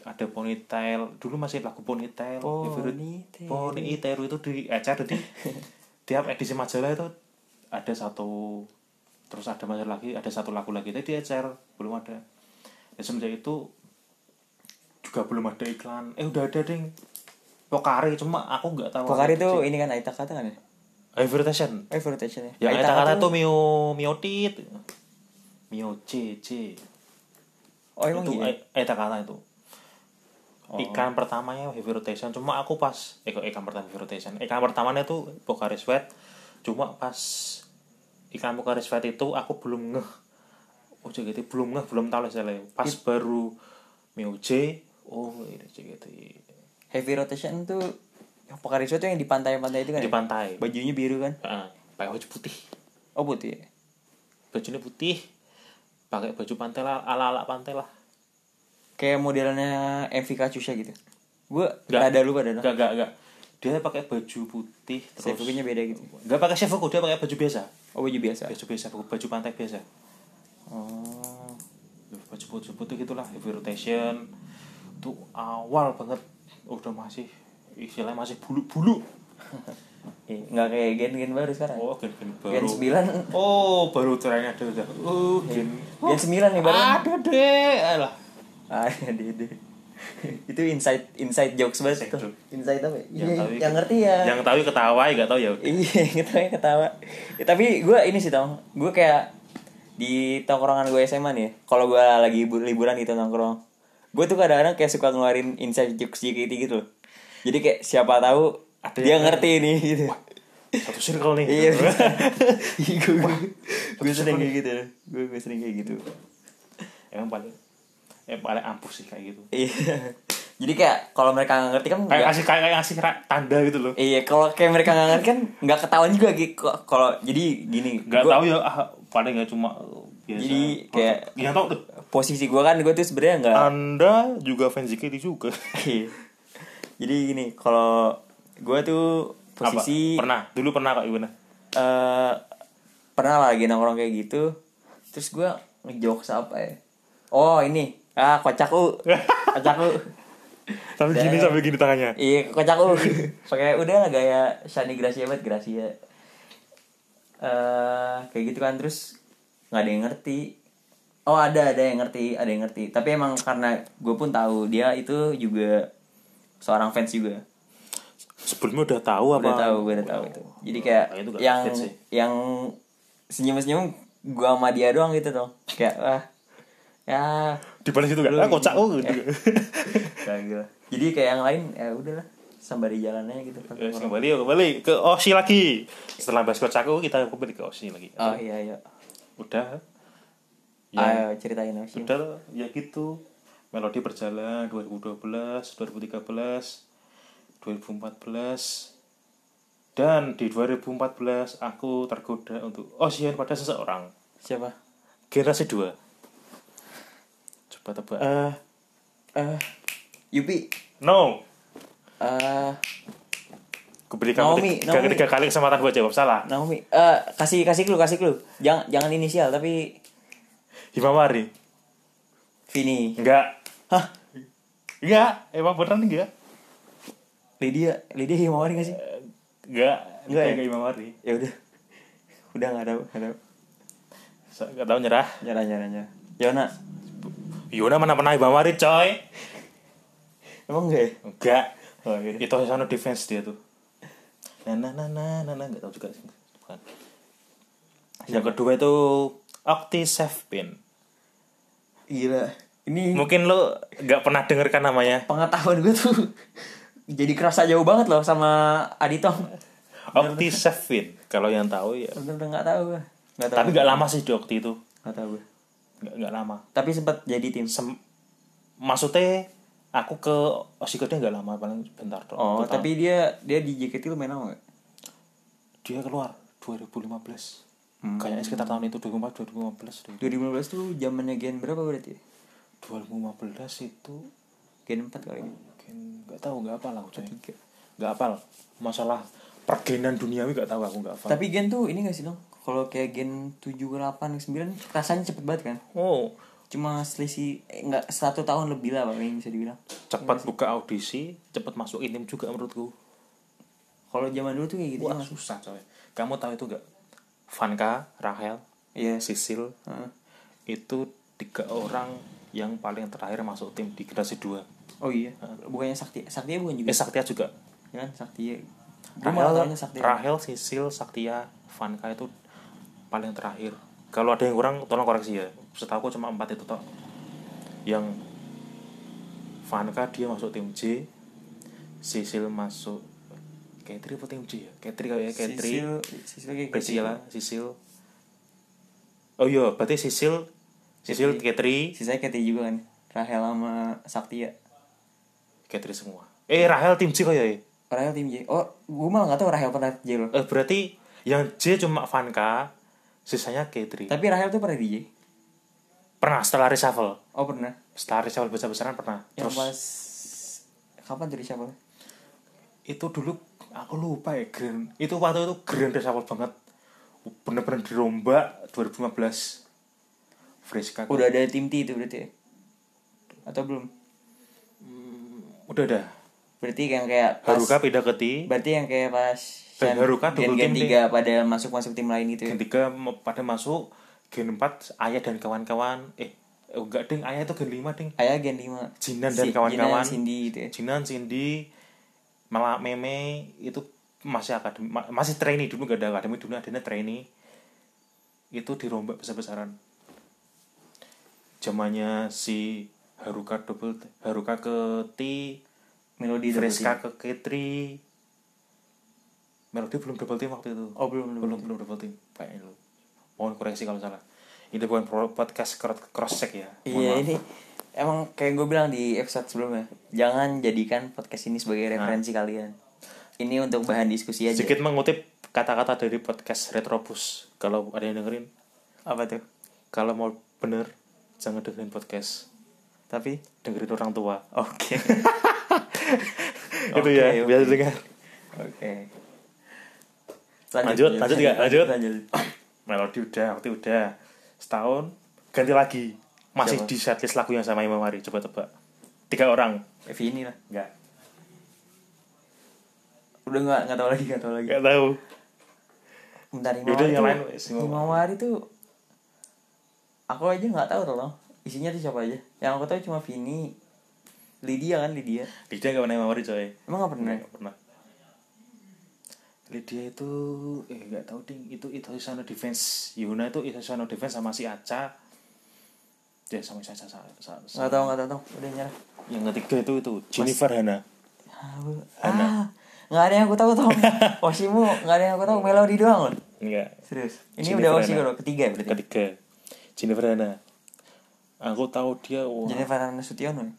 Speaker 2: ada ponytail dulu masih lagu ponytail
Speaker 1: Ponytail.
Speaker 2: ponytail itu di ecer jadi tiap edisi majalah itu ada satu terus ada majalah lagi ada satu lagu lagi tadi ecer belum ada ya, semenjak itu juga belum ada iklan eh udah ada ding Pokari cuma aku nggak tahu
Speaker 1: Pokari tuh ini kan Aita kata kan ya?
Speaker 2: Evertation
Speaker 1: Eh, Flirtation ya?
Speaker 2: Ya,
Speaker 1: Aita
Speaker 2: kata kata
Speaker 1: Kata
Speaker 2: tuh mio miotit. Mio c c.
Speaker 1: Oh, emang
Speaker 2: itu
Speaker 1: gitu?
Speaker 2: eh kata itu. Ikan pertamanya heavy rotation cuma aku pas eh kok ikan pertama heavy rotation. Ikan pertamanya tuh Pokari Sweat. Cuma pas ikan Pokari Sweat itu aku belum ngeh. Oh JKT belum ngeh, belum tahu lah istilahnya. Pas baru Mio C, oh ini JKT
Speaker 1: Heavy Rotation tuh yang Pokari Sweat tuh yang di pantai-pantai itu kan
Speaker 2: di
Speaker 1: ya?
Speaker 2: pantai.
Speaker 1: Bajunya biru kan?
Speaker 2: Heeh, pakai baju putih.
Speaker 1: Oh, putih ya?
Speaker 2: bajunya putih pakai baju pantai lah ala ala pantai lah
Speaker 1: Kayak modelnya MV Kacusha gitu Gue
Speaker 2: Nggak.
Speaker 1: ada lupa ada
Speaker 2: enggak enggak enggak dia pakai baju putih terus
Speaker 1: Seifukunya beda gitu
Speaker 2: enggak pakai sefuku dia pakai baju biasa
Speaker 1: Oh, baju biasa?
Speaker 2: baju biasa baju, baju pantai biasa
Speaker 1: Oh
Speaker 2: baju putih putih gitulah heavy rotation tuh awal banget Oh, udah masih istilahnya masih bulu bulu
Speaker 1: Iya, nggak kayak gen-gen baru sekarang
Speaker 2: oh gen gen
Speaker 1: Gen
Speaker 2: baru
Speaker 1: 9
Speaker 2: oh baru trennya ada udah oh gen
Speaker 1: Gen 9 nih baru
Speaker 2: ada deh alah
Speaker 1: Ah, ya, dede itu inside inside jokes banget
Speaker 2: Inside
Speaker 1: tuh.
Speaker 2: joke.
Speaker 1: Inside apa? ya? Iya,
Speaker 2: tahu
Speaker 1: yang ngerti ya.
Speaker 2: yang tahu ketawa ya nggak tahu ya udah.
Speaker 1: Iya, ketawa ketawa. Ya, tapi gue ini sih tong, gue kayak di tongkrongan gue SMA nih. Kalau gue lagi libur- liburan gitu nongkrong, gue tuh kadang-kadang kayak suka ngeluarin inside jokes JKT gitu. loh. Jadi kayak siapa tahu
Speaker 2: Ada
Speaker 1: dia
Speaker 2: yang-
Speaker 1: ngerti nih gitu.
Speaker 2: satu circle nih gitu.
Speaker 1: Iya, bisa. Iya, gue gue
Speaker 2: terus
Speaker 1: sering
Speaker 2: apa
Speaker 1: kayak gitu. Gue gue sering kayak gitu.
Speaker 2: emang paling eh paling ampuh sih kayak gitu
Speaker 1: Iya. Jadi kayak kalau mereka nggak ngerti kan nggak-
Speaker 2: kayak kasih kayak kayak kasih ra- tanda gitu loh
Speaker 1: Iya, kalau kayak mereka nggak ngerti kan nggak ketahuan juga gitu. Ko- Kalau jadi gini,
Speaker 2: nggak
Speaker 1: gua-
Speaker 2: tahu ya ah, paling nggak cuma uh, biasa
Speaker 1: Jadi kayak-
Speaker 2: nggak tahu tuh
Speaker 1: posisi gue kan gue tuh sebenarnya nggak.
Speaker 2: anda juga fans JKT juga
Speaker 1: Iya. jadi gini, kalau gue tuh posisi
Speaker 2: Apa? pernah dulu pernah kak gimana
Speaker 1: eh, pernah lah lagi nongkrong kayak gitu, terus gue ngejokes apa ya? Oh ini, ah kocaku, kocaku.
Speaker 2: sambil gini sambil gini tangannya
Speaker 1: Iya, kocaku. Pakai udah lah gaya Shani Gracia banget Gracia. Eh kayak gitu kan terus nggak ada yang ngerti. Oh ada ada yang ngerti, ada yang ngerti. Tapi emang karena gue pun tahu dia itu juga seorang fans juga.
Speaker 2: sebelumnya udah tahu apa
Speaker 1: Udah tahu, gue udah tahu itu. Jadi kayak
Speaker 2: Nah, itu nggak
Speaker 1: yang
Speaker 2: update sih.
Speaker 1: yang senyum-senyum gue sama dia doang gitu tuh. Kayak wah ya
Speaker 2: di balik itu gak ah, kocak oh gitu
Speaker 1: kagak. Jadi kayak yang lain ya udahlah sambari jalannya gitu.
Speaker 2: Eh, kembali yuk kembali ke Oshi lagi setelah bahas kocak oh, kita kembali ke Oshi lagi
Speaker 1: Oh iya iya.
Speaker 2: udah Iya.
Speaker 1: Ayo ceritain apa sih?
Speaker 2: Udah ya gitu Melodi berjalan 2012, 2013, 2014 Dan di 2014 aku tergoda untuk Ocean pada seseorang
Speaker 1: Siapa?
Speaker 2: Generasi 2 Coba tebak Eh,
Speaker 1: Eh, Yupi.
Speaker 2: No
Speaker 1: Eh,
Speaker 2: Kuberi kamu
Speaker 1: Naomi,
Speaker 2: tiga,
Speaker 1: Naomi.
Speaker 2: tiga kali kesempatan buat jawab salah
Speaker 1: Naomi. Eh, kasih kasih clue, kasih clue. Jangan jangan inisial tapi
Speaker 2: Himawari
Speaker 1: Vini.
Speaker 2: Enggak
Speaker 1: Hah?
Speaker 2: Enggak Emang beneran enggak
Speaker 1: Lydia, Lydia Himawari gak sih?
Speaker 2: Eh, Enggak
Speaker 1: Enggak ya?
Speaker 2: Enggak Himawari
Speaker 1: Ya udah. Udah enggak ada, enggak ada.
Speaker 2: Sa- Enggak tahu nyerah
Speaker 1: Nyerah, nyerah, nyerah. Yona.
Speaker 2: Yona mana pernah Himawari coy
Speaker 1: Emang enggak ya?
Speaker 2: Enggak.
Speaker 1: Oh, iya.
Speaker 2: Itu Hosono defense dia tuh. Nah, nah, nah, nah, nah, nah, enggak tahu juga sih. Bukan. Yang kedua itu Octi Sevpin.
Speaker 1: Gila. Ini
Speaker 2: Mungkin lo nggak pernah dengarkan namanya.
Speaker 1: pengetahuan gue tuh jadi kerasa jauh banget loh sama Aditong.
Speaker 2: Okti Sevin kalau yang tahu ya.
Speaker 1: Bener-bener nggak tahu gue. Nggak tahu.
Speaker 2: Tapi nggak lama sih di Okti itu.
Speaker 1: Nggak tahu gue.
Speaker 2: Nggak nggak lama.
Speaker 1: Tapi sempat jadi tim.
Speaker 2: Sem- maksudnya aku ke Osikotnya nggak lama paling bentar doang.
Speaker 1: Oh,
Speaker 2: Aku tahu.
Speaker 1: tapi dia dia di JKT lu main apa nggak?
Speaker 2: dia keluar 2015. Kayaknya sekitar tahun itu 2015 2015 deh.
Speaker 1: 2015 tuh zamannya Gen berapa berarti? ya?
Speaker 2: 2015 itu
Speaker 1: Gen 4 kali.
Speaker 2: mungkin nggak tahu nggak apa lah aku cuy. Nggak apa masalah pergenan duniawi nggak tahu aku nggak apa.
Speaker 1: Tapi Gen tuh ini gak sih dong? Kalau kayak Gen 7, 8, 9 rasanya cepet banget kan?
Speaker 2: Oh,
Speaker 1: Cuma selisih eh, nggak satu tahun lebih lah paling bisa dibilang.
Speaker 2: cepat buka audisi, cepat masuk intim juga menurutku.
Speaker 1: Kalau zaman dulu tuh kayak gitu.
Speaker 2: Wah, susah coy. Kamu tahu itu nggak? Vanka, Rahel,
Speaker 1: Iya.
Speaker 2: Sisil,
Speaker 1: Heeh.
Speaker 2: itu tiga orang yang paling terakhir masuk tim di generasi 2.
Speaker 1: Oh iya. Bukannya Sakti? Sakti bukan juga?
Speaker 2: Eh, Saktia juga.
Speaker 1: Ya kan Sakti. Gue malah
Speaker 2: Rahel,
Speaker 1: taunya Sakti.
Speaker 2: Rahel, Sisil, Saktia, Vanka itu paling terakhir. Kalau ada yang kurang tolong koreksi ya. Setahu aku cuma empat itu toh. Yang Vanka dia masuk tim J, Sisil masuk Katri apa tim J ya? Katri kayak Katri,
Speaker 1: Sisil- Sisil kayak
Speaker 2: Priscilla, Sisil. Oh iya, berarti Sisil, Sisil, Katri,
Speaker 1: Sisanya Katri juga kan. Rahel sama Sakti ya.
Speaker 2: Katri semua. Eh Rahel tim J kayak ya.
Speaker 1: Rahel tim J. Oh, gue malah gak tau Rahel pernah J loh.
Speaker 2: Eh berarti yang J cuma Vanka, sisanya Katri.
Speaker 1: Tapi Rahel tuh pernah di J.
Speaker 2: Pernah setelah reshuffle.
Speaker 1: Oh pernah.
Speaker 2: setelah reshuffle besar-besaran pernah
Speaker 1: Yang
Speaker 2: terus
Speaker 1: pas kapan tuh siapa?
Speaker 2: itu dulu aku lupa ya grand itu waktu itu grand reshuffle banget bener-bener dirombak 2015 Friska
Speaker 1: Udah ada tim T itu berarti ya? Atau belum?
Speaker 2: udah dah
Speaker 1: Berarti yang kayak pas,
Speaker 2: Haruka pindah ke T
Speaker 1: berarti yang kayak pas
Speaker 2: Dan Haruka double
Speaker 1: gen, gen
Speaker 2: tim
Speaker 1: 3 pada masuk-masuk tim lain gitu ya.
Speaker 2: gen 3 pada masuk gen 4 Ayah dan kawan-kawan eh eh, enggak ding Ayah itu gen 5 ding
Speaker 1: Ayah gen 5.
Speaker 2: Jinan dan kawan-kawan.
Speaker 1: Cindy gitu ya.
Speaker 2: Jinan Cindy malah meme itu masih akademi ma- masih trainee dulu gak ada akademi dulu adanya trainee itu dirombak besar-besaran zamannya si Haruka double Haruka ke T
Speaker 1: Melodi Iya, double
Speaker 2: Friska ke Ketri Melody belum double team waktu itu
Speaker 1: team. Oh belum belum.
Speaker 2: belum belum double team kayaknya dulu mohon koreksi kalau salah ini bukan pro- podcast cross check ya Mohon
Speaker 1: Iya
Speaker 2: maaf.
Speaker 1: ini emang kayak gue bilang di episode sebelumnya, jangan jadikan podcast ini
Speaker 2: Nah.
Speaker 1: sebagai referensi kalian. Ini untuk bahan diskusi aja.
Speaker 2: sedikit mengutip kata-kata dari podcast Retrobus kalau ada yang dengerin
Speaker 1: Apa tuh?
Speaker 2: kalau mau bener jangan dengerin podcast
Speaker 1: Tapi
Speaker 2: dengerin orang tua
Speaker 1: oke.
Speaker 2: itu ya
Speaker 1: oke.
Speaker 2: biasa dengar
Speaker 1: Oke.
Speaker 2: Lanjut, lanjut nggak? Lanjut.
Speaker 1: lanjut.
Speaker 2: melodi udah waktu udah setahun ganti lagi masih
Speaker 1: Siapa?
Speaker 2: di setlist lagu yang sama Imam Hari coba tebak tiga orang
Speaker 1: Evi ini lah.
Speaker 2: nggak
Speaker 1: Udah nggak nggak tahu lagi nggak tahu lagi.
Speaker 2: nggak tahu
Speaker 1: Bentar Himawari.
Speaker 2: Yaudah, Ya. yang
Speaker 1: tuh-
Speaker 2: lain, wes, Himawari.
Speaker 1: Himawari tuh aku aja nggak tahu tolong. Isinya tuh siapa aja? Yang aku tahu cuma Vini, Lydia kan Lydia.
Speaker 2: Lydia nggak pernah Imam Hari coy
Speaker 1: Emang nggak pernah?
Speaker 2: nggak pernah Lydia itu eh nggak tahu ding itu itu Isano Defense Yuna itu Isano Defense sama si Aca ya sama si Aca sa- sa- sa-
Speaker 1: Nggak tahu nggak tahu tolong. Udah nyerah.
Speaker 2: yang ketiga itu itu Jennifer Hana
Speaker 1: Ah, nggak ada yang aku tahu tolong. Osimu nggak ada yang aku tahu. Melody doang loh.
Speaker 2: enggak
Speaker 1: Serius. Ini
Speaker 2: Jennifer
Speaker 1: udah Osi
Speaker 2: Hana.
Speaker 1: loh ketiga ya berarti.
Speaker 2: ketiga Jennifer Hana aku tahu dia wah.
Speaker 1: Jennifer Hana Sutiono. ya?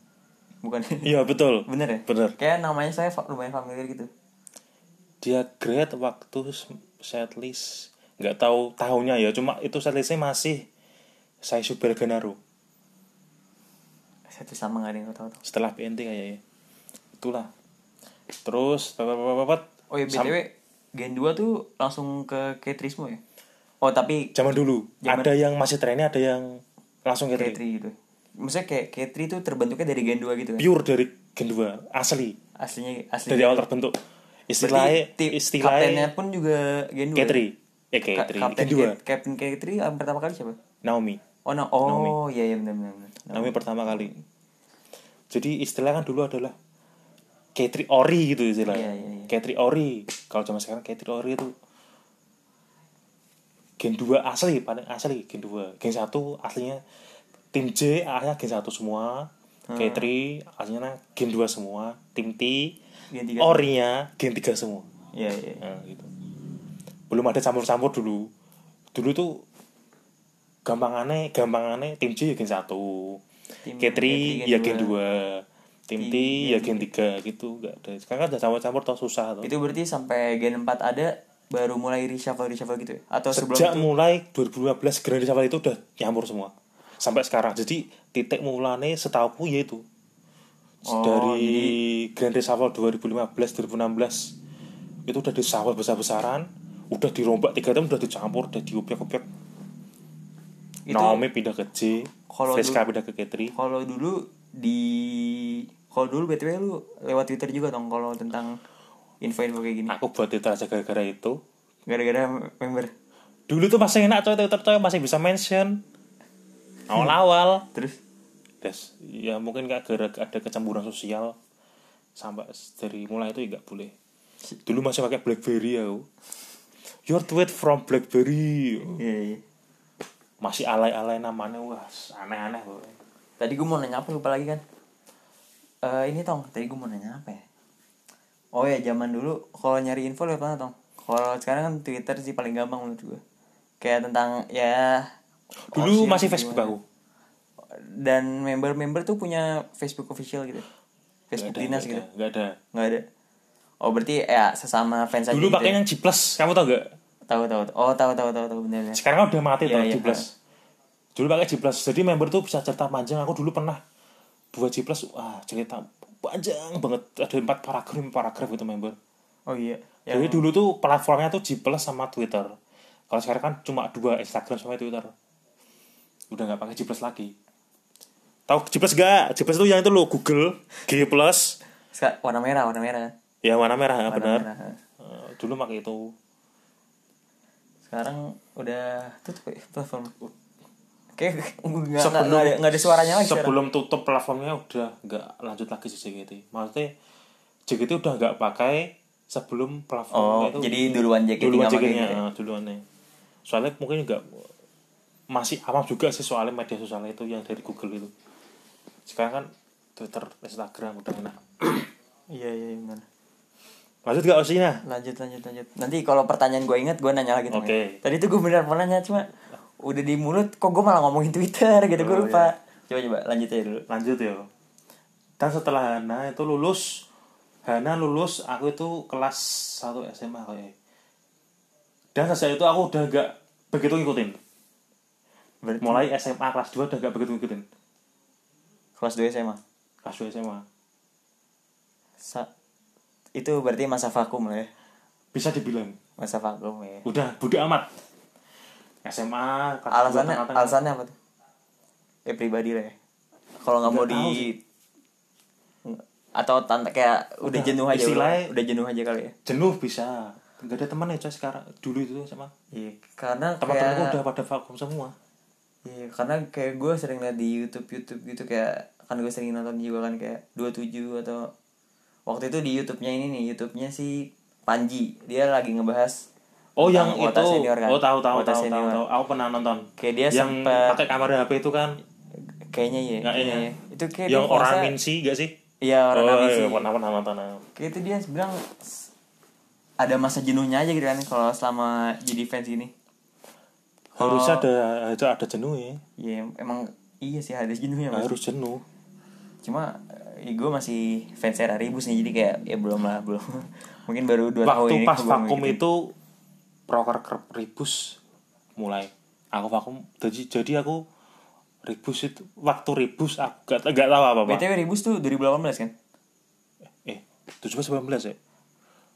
Speaker 1: Bukan.
Speaker 2: iya betul
Speaker 1: Bener ya?
Speaker 2: bener
Speaker 1: Kayak namanya saya fa- lumayan familiar gitu.
Speaker 2: dia grade waktu s- setlist nggak tahu tahunnya ya cuma itu setlistnya masih saya Super Genaro
Speaker 1: Satu sama nggak ada yang tahu.
Speaker 2: setelah BNT kayaknya ya, itulah terus bapak
Speaker 1: Oh iya BTW Gen 2 tuh langsung ke Ketrismo ya? Oh tapi
Speaker 2: zaman dulu ada yang masih trennya ada yang langsung ke train.
Speaker 1: Ketri gitu Maksudnya kayak Ketri tuh terbentuknya dari Gen 2 gitu kan?
Speaker 2: pure dari gen 2 asli
Speaker 1: Aslinya asli
Speaker 2: dari awal terbentuk istilahnya
Speaker 1: Berarti ti- kaptennya
Speaker 2: istilahnya
Speaker 1: pun juga Gen 2
Speaker 2: Katri eh Katri
Speaker 1: Kapten
Speaker 2: gen 2
Speaker 1: Ke- Kapten Ketri yang pertama kali siapa?
Speaker 2: Naomi
Speaker 1: Oh, no. oh iya iya benar benar. benar.
Speaker 2: Naomi pertama kali jadi istilah kan dulu adalah Katri Ori gitu istilah
Speaker 1: Iya, iya, iya.
Speaker 2: Katri Ori kalau zaman sekarang Katri Ori itu gen 2 asli paling asli gen 2 gen 1 aslinya tim J akhirnya game satu semua
Speaker 1: Hmm.
Speaker 2: K3 akhirnya game 2 semua tim T
Speaker 1: Gen tiga.
Speaker 2: Oh. orinya game 3 semua
Speaker 1: Iya, iya.
Speaker 2: Nah, gitu. belum ada campur-campur dulu dulu tuh gampangannya gampangannya tim J ya gen 1
Speaker 1: Tim
Speaker 2: K3
Speaker 1: K3
Speaker 2: ya
Speaker 1: gen
Speaker 2: gen 2 tim T ya gen 3 gitu nggak ada sekarang kan udah campur-campur tau susah tuh
Speaker 1: Itu berarti sampai gen 4 ada baru mulai reshuffle reshuffle gitu ya? Atau sebelum
Speaker 2: sejak mulai 2015 Grand Reshuffle itu udah nyampur semua sampai sekarang jadi titik mulane setahuku yaitu
Speaker 1: Oh,
Speaker 2: dari Grand Reshuffle 2015 2016 itu udah disawal besar-besaran udah dirombak tiga tim udah dicampur udah diupiak-upiak
Speaker 1: Itu-
Speaker 2: Naomi pindah ke J
Speaker 1: Kalau
Speaker 2: Friska pindah ke K3
Speaker 1: kalau dulu di kalau dulu btw lu lewat twitter juga dong kalau tentang info-info kayak gini
Speaker 2: aku buat Twitter aja gara-gara itu
Speaker 1: gara-gara member
Speaker 2: dulu tuh masih enak coy Twitter coy masih bisa mention awal-awal
Speaker 1: terus
Speaker 2: Des, ya mungkin gak gara ada kecemburuan sosial sampai s- dari mulai itu ya gak boleh. Dulu masih pakai BlackBerry ya. aku. Your tweet from BlackBerry.
Speaker 1: iya, iya.
Speaker 2: Masih alay-alay namanya wah s- aneh-aneh kok.
Speaker 1: tadi gue mau nanya apa lupa lagi kan Eh ini tong tadi gue mau nanya apa ya oh ya zaman dulu kalau nyari info lewat mana tong kalau sekarang kan twitter sih paling gampang menurut gue kayak tentang ya OSIS
Speaker 2: Dulu masih
Speaker 1: gimana.
Speaker 2: Facebook aku.
Speaker 1: dan member-member tuh punya Facebook official gitu Facebook dinas gitu
Speaker 2: Gak ada.
Speaker 1: nggak ada oh berarti ya sesama fans aja
Speaker 2: Dulu
Speaker 1: gitu ya?
Speaker 2: pakainya yang G+, kamu tau gak?
Speaker 1: tahu tahu tahu. oh tahu tahu tahu tahu benar benar.
Speaker 2: Sekarang kan udah mati
Speaker 1: Iya,
Speaker 2: tuh
Speaker 1: iya.
Speaker 2: G+. Dulu pakai G+, jadi member tuh bisa cerita panjang. Aku dulu pernah buat G+, wah cerita panjang banget. Ada 4 paragraf, 5 paragraf gitu member.
Speaker 1: oh iya ya
Speaker 2: Jadi dulu tuh platformnya tuh G Plus sama Twitter. Kalau sekarang kan cuma dua Instagram sama Twitter. Udah nggak pakai G Plus lagi. Tahu G Plus gak? G Plus tuh yang itu lo Google G Plus
Speaker 1: Seka- warna merah warna merah
Speaker 2: yang warna merah nggak
Speaker 1: warna
Speaker 2: benar.
Speaker 1: merah ha.
Speaker 2: Eh, Dulu pakai itu.
Speaker 1: sekarang udah tutup ya platform kayak nggak nggak-
Speaker 2: Sebelum-
Speaker 1: nggak ada, nggak ada suaranya lagi sekarang.
Speaker 2: Sebelum tutup platformnya udah nggak lanjut lagi sih JKT. Maksudnya JKT udah nggak pakai
Speaker 1: oh
Speaker 2: sebelum platformnya itu.
Speaker 1: jadi duluan JKT
Speaker 2: duluan
Speaker 1: nggak pakai
Speaker 2: JKT-nya,
Speaker 1: gitu ya?
Speaker 2: eh, duluannya. Soalnya mungkin nggak masih awam juga sih soalnya media sosial itu yang dari Google itu. Sekarang kan Twitter, Instagram udah enak.
Speaker 1: iya iya iya, benar
Speaker 2: Lanjut nah? gak Osina?
Speaker 1: lanjut lanjut lanjut nanti kalau pertanyaan gue ingat gue nanya lagi Tong, ya.
Speaker 2: Oke.
Speaker 1: tadi tuh gue benar pernah nanya cuma udah di mulut kok gue malah ngomongin twitter gitu gue lupa coba coba lanjut aja dulu
Speaker 2: Lanjut ya. Dan setelah Hana itu lulus, Hana lulus, aku itu kelas 1 SMA kayaknya. ya. Dan sejak itu aku udah gak begitu ngikutin.
Speaker 1: Berarti-
Speaker 2: Mulai SMA kelas 2 udah gak begitu ngikutin.
Speaker 1: kelas 2 SMA
Speaker 2: Kelas 2 SMA.
Speaker 1: Sa- itu berarti masa vakum lah ya
Speaker 2: Bisa dibilang.
Speaker 1: masa vakum ya
Speaker 2: udah bodo amat SMA kelas
Speaker 1: alasannya
Speaker 2: dua, tengah-tengah.
Speaker 1: alasannya apa tuh ya pribadi lah ya kalau nggak mau
Speaker 2: Nggak tahu
Speaker 1: di atau tante kayak udah, jenuh aja
Speaker 2: istilahnya-
Speaker 1: udah, udah jenuh aja kali ya
Speaker 2: jenuh bisa nggak ada teman ya coy sekarang dulu itu SMA
Speaker 1: Iya, karena
Speaker 2: teman-temanku
Speaker 1: kayak
Speaker 2: udah pada vakum semua
Speaker 1: iya, karena kayak gue sering liat di YouTube YouTube gitu kayak kan gue sering nonton juga kan kayak 27 atau waktu itu di YouTube-nya ini nih YouTube-nya si Panji dia lagi ngebahas
Speaker 2: oh yang
Speaker 1: tentang
Speaker 2: itu
Speaker 1: kuota senior kan
Speaker 2: oh tahu tahu
Speaker 1: Kuota
Speaker 2: tahu tahu
Speaker 1: senior.
Speaker 2: tahu aku pernah nonton
Speaker 1: Kayak dia
Speaker 2: yang
Speaker 1: sempet-
Speaker 2: pakai kamar HP itu kan
Speaker 1: kayaknya iya
Speaker 2: Nggak,
Speaker 1: kayaknya
Speaker 2: iya.
Speaker 1: iya. itu kayak
Speaker 2: yang
Speaker 1: dia kalau
Speaker 2: orang
Speaker 1: nggak salah-
Speaker 2: minsi gak sih
Speaker 1: iya orang
Speaker 2: oh,
Speaker 1: Minsi.
Speaker 2: iya, pernah pernah nonton aku.
Speaker 1: kayak itu dia bilang s- ada masa jenuhnya aja gitu kan kalau selama jadi fans gini Oh.
Speaker 2: harusnya ada ada ada jenuh ya
Speaker 1: ya emang iya sih ada jenuhnya
Speaker 2: Nggak
Speaker 1: mas
Speaker 2: harus jenuh
Speaker 1: cuma gue masih fans era ribus nih jadi kayak ya belum lah belum mungkin baru dua tahun
Speaker 2: waktu
Speaker 1: ini
Speaker 2: pas
Speaker 1: gua
Speaker 2: vakum
Speaker 1: ngikutin.
Speaker 2: itu proker kerep ribus mulai aku vakum jadi jadi aku ribus itu waktu ribus aku gak, gak tahu apa apa
Speaker 1: btw ribus tuh 2018 kan
Speaker 2: eh tujuh belas sembilan belas ya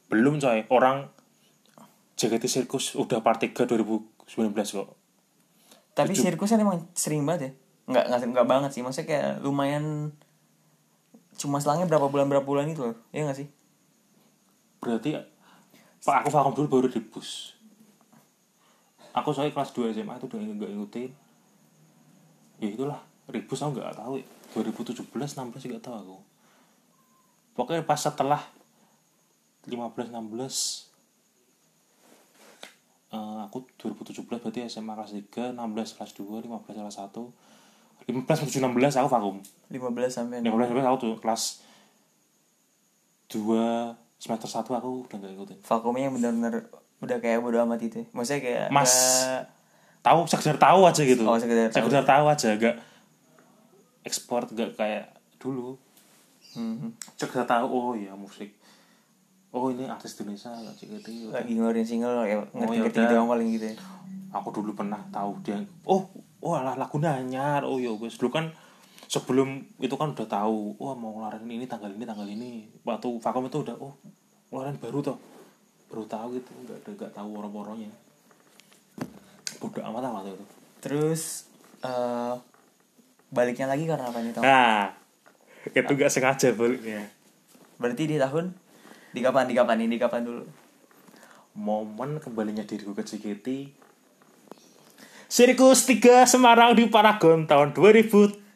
Speaker 2: belum coy orang JKT Sirkus udah part 3 2019 kok
Speaker 1: tapi sirkusan emang sering banget ya nggak nggak nggak banget sih maksudnya kayak lumayan cuma selangnya berapa bulan berapa bulan itu loh ya nggak sih
Speaker 2: berarti pak aku vakum dulu baru ribus aku soalnya kelas 2 SMA itu udah nggak ngikutin ya itulah ribus aku nggak tahu 2017 16 nggak tahu aku pokoknya pas setelah 15 16 eh, aku 2017 berarti SMA kelas 3 16 kelas 2 15 kelas 1 15 menuju 16 aku vakum
Speaker 1: 15 sampai
Speaker 2: 15 sampai aku tuh kelas 2 semester 1 aku udah gak ikutin
Speaker 1: vakumnya yang benar-benar udah kayak bodo amat itu maksudnya kayak
Speaker 2: Mas.
Speaker 1: nggak-
Speaker 2: tahu sekedar tahu aja gitu
Speaker 1: Oh, sekedar tahu.
Speaker 2: sekedar tahu aja gak ekspor gak kayak dulu
Speaker 1: Hmm,
Speaker 2: sekedar tahu oh iya musik oh ini artis Indonesia gak sih gitu yaudah.
Speaker 1: lagi ngeluarin single ya ngerti-ngerti
Speaker 2: yaudah.
Speaker 1: gitu doang paling gitu ya
Speaker 2: aku dulu pernah tahu dia oh wah lah lagu nanyar oh ya wes dulu kan sebelum itu kan udah tahu wah mau ngeluarin ini tanggal ini tanggal ini waktu vakum itu udah oh ngeluarin baru toh baru tahu gitu nggak ada nggak tahu orang-orangnya bodoh amat lah waktu itu
Speaker 1: terus eh baliknya lagi karena apa nih Tom?
Speaker 2: nah itu nggak sengaja baliknya
Speaker 1: berarti di tahun di kapan di kapan ini di kapan dulu
Speaker 2: momen kembalinya diriku ke JKT Sirkus 3 Semarang di Paragon tahun 2000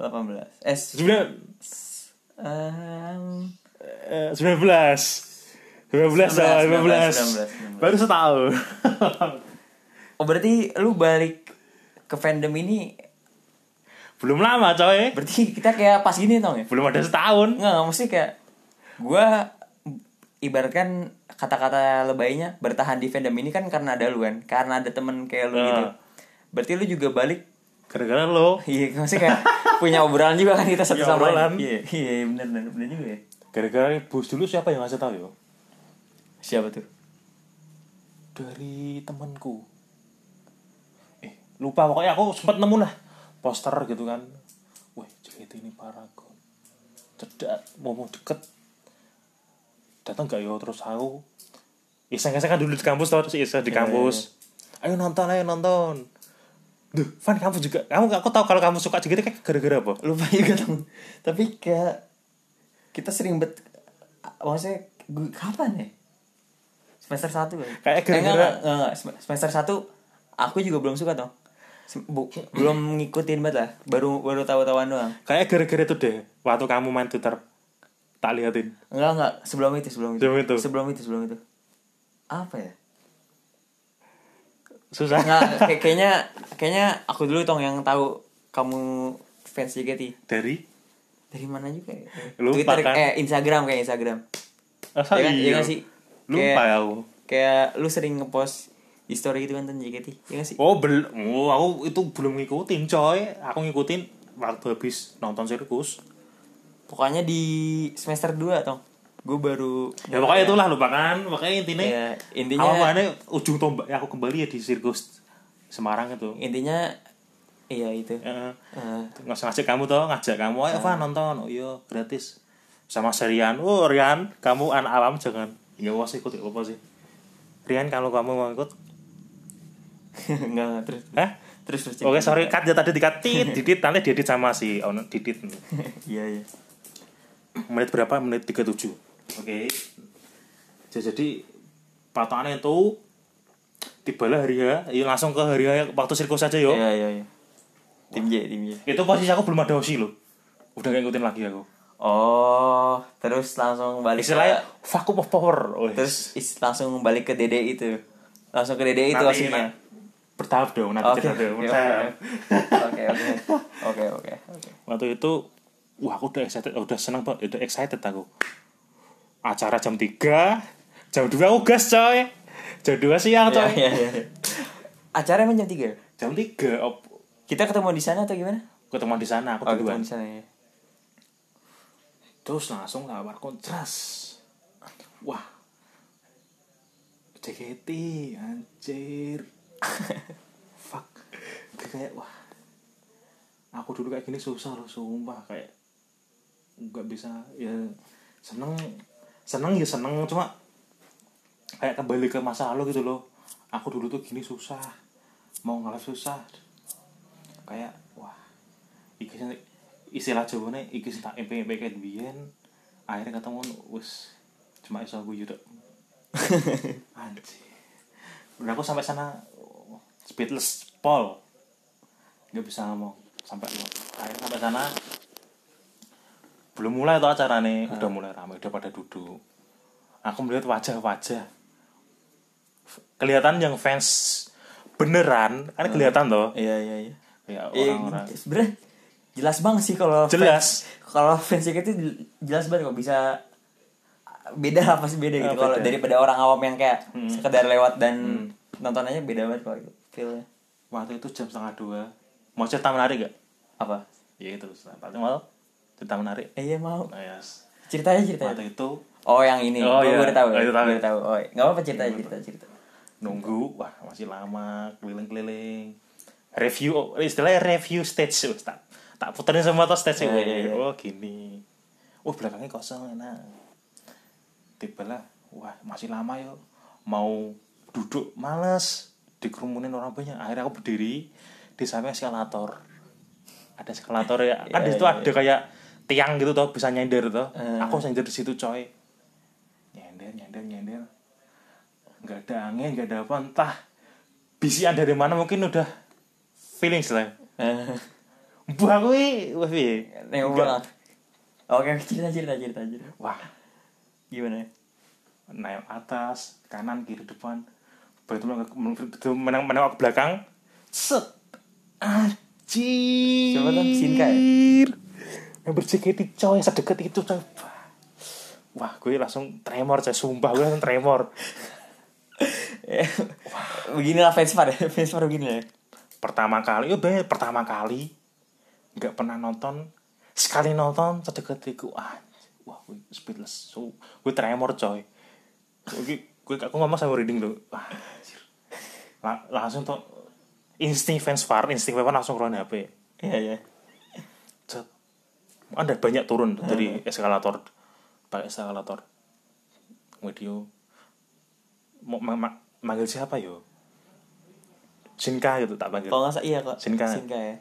Speaker 1: 18 eh s- em,
Speaker 2: Eh, 19 19 sama
Speaker 1: 19.
Speaker 2: 19 Baru setahun
Speaker 1: oh berarti lu balik ke fandom ini
Speaker 2: Belum lama coy
Speaker 1: berarti kita kayak pas gini tau ya
Speaker 2: Belum ada setahun
Speaker 1: nggak nggak mesti kayak gua ibaratkan kata-kata lebaynya bertahan di fandom ini kan karena ada lu kan karena ada temen kayak lu
Speaker 2: Nah.
Speaker 1: gitu berarti lu juga balik
Speaker 2: Gara-gara lo
Speaker 1: iya maksudnya kayak punya obrolan juga kan kita satu
Speaker 2: Punya
Speaker 1: sama lain
Speaker 2: obrolan.
Speaker 1: iya iya bener bener bener juga ya
Speaker 2: Gara-gara bus dulu siapa yang ngasih tahu yo?
Speaker 1: siapa tuh
Speaker 2: Dari temanku Eh lupa pokoknya aku sempat nemu lah Poster gitu kan Wih JKT ini Paragon Cedak mau mau deket Datang gak yo terus aku Iseng-iseng kan dulu di kampus tau terus iseng di kampus Ayo nonton ayo nonton Duh, Van kamu juga, kamu aku tahu kalau kamu suka JKT kayak gara-gara apa?
Speaker 1: lupa juga dong tapi kayak kita sering bet maksudnya gu- kapan ya semester satu kan
Speaker 2: Kayak
Speaker 1: eh, enggak,
Speaker 2: gara-gara-
Speaker 1: enggak, enggak, enggak. Sem- semester satu aku juga belum suka dong Sem- bu- belum ngikutin banget lah baru baru tahu-tahuan doang
Speaker 2: Kayak gara-gara itu deh, waktu kamu main Twitter tak liatin.
Speaker 1: enggak enggak sebelum itu sebelum itu
Speaker 2: Sebelum itu.
Speaker 1: sebelum itu sebelum itu apa ya
Speaker 2: Susah.
Speaker 1: enggak kayak- kayaknya kayaknya aku dulu tong yang tahu kamu fans JKT
Speaker 2: Dari
Speaker 1: dari mana juga ya?
Speaker 2: Lupa,
Speaker 1: Twitter
Speaker 2: kan?
Speaker 1: eh Instagram kayak Instagram
Speaker 2: Masa
Speaker 1: Iya kan? Iya
Speaker 2: iya?
Speaker 1: kan sih?
Speaker 2: Lupa
Speaker 1: Kayak-
Speaker 2: ya aku.
Speaker 1: kayak lu sering ngepost di story gitu kan tentang JKT ya gak sih
Speaker 2: Oh, bel oh, aku itu belum ngikutin, coy. Aku ngikutin waktu habis nonton sirkus.
Speaker 1: pokoknya di semester 2 tong gue baru
Speaker 2: Ya pokoknya itulah lupakan. Pokoknya intinya
Speaker 1: Ya, intinya-
Speaker 2: awal awalnya ujung tombak ya aku kembali ya di sirkus Semarang itu.
Speaker 1: intinya iya itu
Speaker 2: Heeh.
Speaker 1: Eh,
Speaker 2: Nggak sengaja kamu tuh ngajak kamu, ayo Van nonton, oh iya gratis sama si Rian, oh Rian kamu anak alam jangan nggak mau sih ikut nggak apa sih Rian kalau kamu mau ikut,
Speaker 1: enggak enggak, terus
Speaker 2: Hah?
Speaker 1: terus terus
Speaker 2: Oke sorry cut ya tadi dikat tit didit nanti diedit sama si oh, didit
Speaker 1: iya iya
Speaker 2: menit berapa menit 37 oke jadi, jadi patokannya itu tibalah hari H ya langsung ke hari H waktu sirkus aja yo
Speaker 1: iya iya iya tim J tim J
Speaker 2: itu posisi aku belum ada osi loh udah gak ngikutin lagi aku
Speaker 1: oh terus langsung balik ke-
Speaker 2: istilahnya vacuum of power Wih.
Speaker 1: Iya. terus is- langsung balik ke Dede itu langsung ke Dede itu
Speaker 2: Nanti-
Speaker 1: aslinya
Speaker 2: bertahap dong nanti
Speaker 1: oke
Speaker 2: cerita
Speaker 1: oke
Speaker 2: dong
Speaker 1: oke
Speaker 2: bertahap.
Speaker 1: oke oke oke oke
Speaker 2: waktu itu wah aku udah excited udah senang banget udah excited aku acara jam 3 jam 2 aku gas coy jam 2
Speaker 1: Iya,
Speaker 2: siang coy
Speaker 1: iya, iya. acara emang jam 3
Speaker 2: jam 3 op,
Speaker 1: kita ketemu di sana atau gimana
Speaker 2: ketemu di sana aku
Speaker 1: Oh,
Speaker 2: duluan
Speaker 1: ketemu di sana ya.
Speaker 2: terus langsung lawar kontras wah JKT anjir fuck kayak wah aku dulu kayak gini susah loh sumpah kayak nggak bisa ya seneng seneng ya seneng cuma kayak kembali ke masa lalu gitu loh aku dulu tuh gini susah mau ngalah susah kayak wah iki sing- istilah Jawa nih iki sing tak empe empe kayak biyen akhirnya ketemu wis cuma iso aku yuk anjir udah aku sampai sana oh, speedless Paul nggak bisa ngomong sampai akhirnya sampai sana belum mulai tuh acara nih udah mulai ramai udah pada duduk aku melihat wajah-wajah kelihatan yang fans beneran kan kelihatan tuh
Speaker 1: Iya iya iya.
Speaker 2: ya
Speaker 1: Eh,
Speaker 2: orang-orang
Speaker 1: sebenernya jelas banget sih kalau fans-
Speaker 2: Jelas.
Speaker 1: kalau fans JKT itu jelas banget kok bisa beda lah pasti beda Hmm. gitu
Speaker 2: Ah,
Speaker 1: kalau
Speaker 2: beda.
Speaker 1: daripada orang awam yang kayak sekedar lewat dan nontonannya beda banget kalau itu feelnya
Speaker 2: waktu itu jam setengah dua mau cerita menarik gak
Speaker 1: apa
Speaker 2: ya itu paling mau cerita menarik
Speaker 1: eh, iya mau
Speaker 2: nah, yes.
Speaker 1: ceritanya ceritanya
Speaker 2: waktu itu
Speaker 1: oh yang ini
Speaker 2: Oh,
Speaker 1: gue
Speaker 2: iya.
Speaker 1: udah tahu
Speaker 2: Oh, itu tahu. Iya,
Speaker 1: gue udah tahu oh nggak apa-apa cerita cerita cerita
Speaker 2: nunggu wah masih lama keliling-keliling review oh, istilahnya review stage oh, tak tak puterin semua tuh stage
Speaker 1: Iya, iya, iya.
Speaker 2: oh gini oh belakangnya kosong enak tibalah wah masih lama yuk mau duduk males dikerumunin orang banyak akhirnya aku berdiri di samping eskalator ada eskalator ya kan di situ
Speaker 1: Iya, Eh. iya,
Speaker 2: ada kayak tiang gitu tuh bisa nyender tuh aku nyender di situ coy nyender nyender nyender nggak ada angin nggak ada apa entah bisian dari mana mungkin udah feelings lah buah gue wah piye?
Speaker 1: nengok
Speaker 2: Nggak-
Speaker 1: pulang oke cerita cerita cerita cerita
Speaker 2: wah
Speaker 1: gimana ya?
Speaker 2: naik atas kanan kiri depan begitu menengok- begitu menang menengok ke belakang set anjir
Speaker 1: Siapa tuh? Shinka ya?
Speaker 2: yang berjeketi coy sedekat itu coy wah gue langsung tremor coy sumpah gue langsung tremor
Speaker 1: Eh, beginilah fans pada fans pada begini ya
Speaker 2: pertama kali yo ben pertama kali nggak pernah nonton sekali nonton sedekat itu ah wah gue speedless so gue tremor coy gue gue aku ngomong sama reading lo ah, anjir. La- langsung tuh insting fans far insting fans VAR langsung keluar hp
Speaker 1: iya iya
Speaker 2: Cet. ada banyak turun tuh dari eskalator pakai eskalator video mau ma- ma- manggil siapa yo Shinka gitu tak panggil
Speaker 1: kalau nggak salah iya kok
Speaker 2: Shinka.
Speaker 1: Shinka ya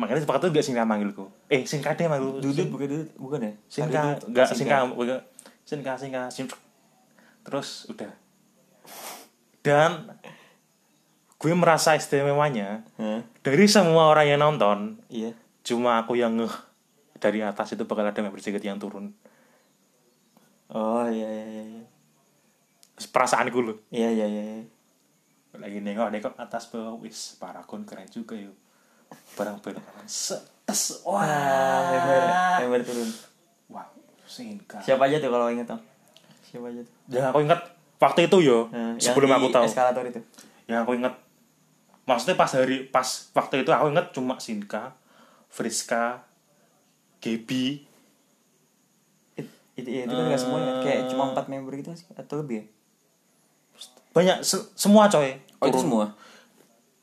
Speaker 2: makanya sepakat tuh gak Shinka manggilku eh Shinka deh manggil
Speaker 1: Dudut bukan Dudut bukan ya?
Speaker 2: Shinka enggak Shinka bukan. Shinka Shinka Shinka terus udah dan gue merasa istimewanya
Speaker 1: Heeh.
Speaker 2: dari semua orang yang nonton
Speaker 1: Iya.
Speaker 2: cuma aku yang ngeh dari atas itu bakal ada member sedikit yang turun
Speaker 1: Oh iya iya iya. iya.
Speaker 2: Terus perasaanku loh
Speaker 1: Iya iya iya. iya.
Speaker 2: lagi nengok nengok atas bawah wis parakon keren juga yuk barang barang setes
Speaker 1: Ah, member,
Speaker 2: wah
Speaker 1: member turun.
Speaker 2: wah Shinka
Speaker 1: Siapa aja tuh kalau inget Tom? Siapa aja tuh?
Speaker 2: yang aku ingat waktu itu yo
Speaker 1: Nah, yang
Speaker 2: sebelum
Speaker 1: di
Speaker 2: aku tahu
Speaker 1: Eskalator itu.
Speaker 2: yang aku inget maksudnya pas hari pas waktu itu aku inget cuma Sinka Friska Gebi
Speaker 1: It- Itu iya, itu kan
Speaker 2: Ah.
Speaker 1: nggak semuanya kayak cuma empat member gitu nggak sih? atau lebih ya?
Speaker 2: banyak se- semua coy
Speaker 1: Oh itu semua.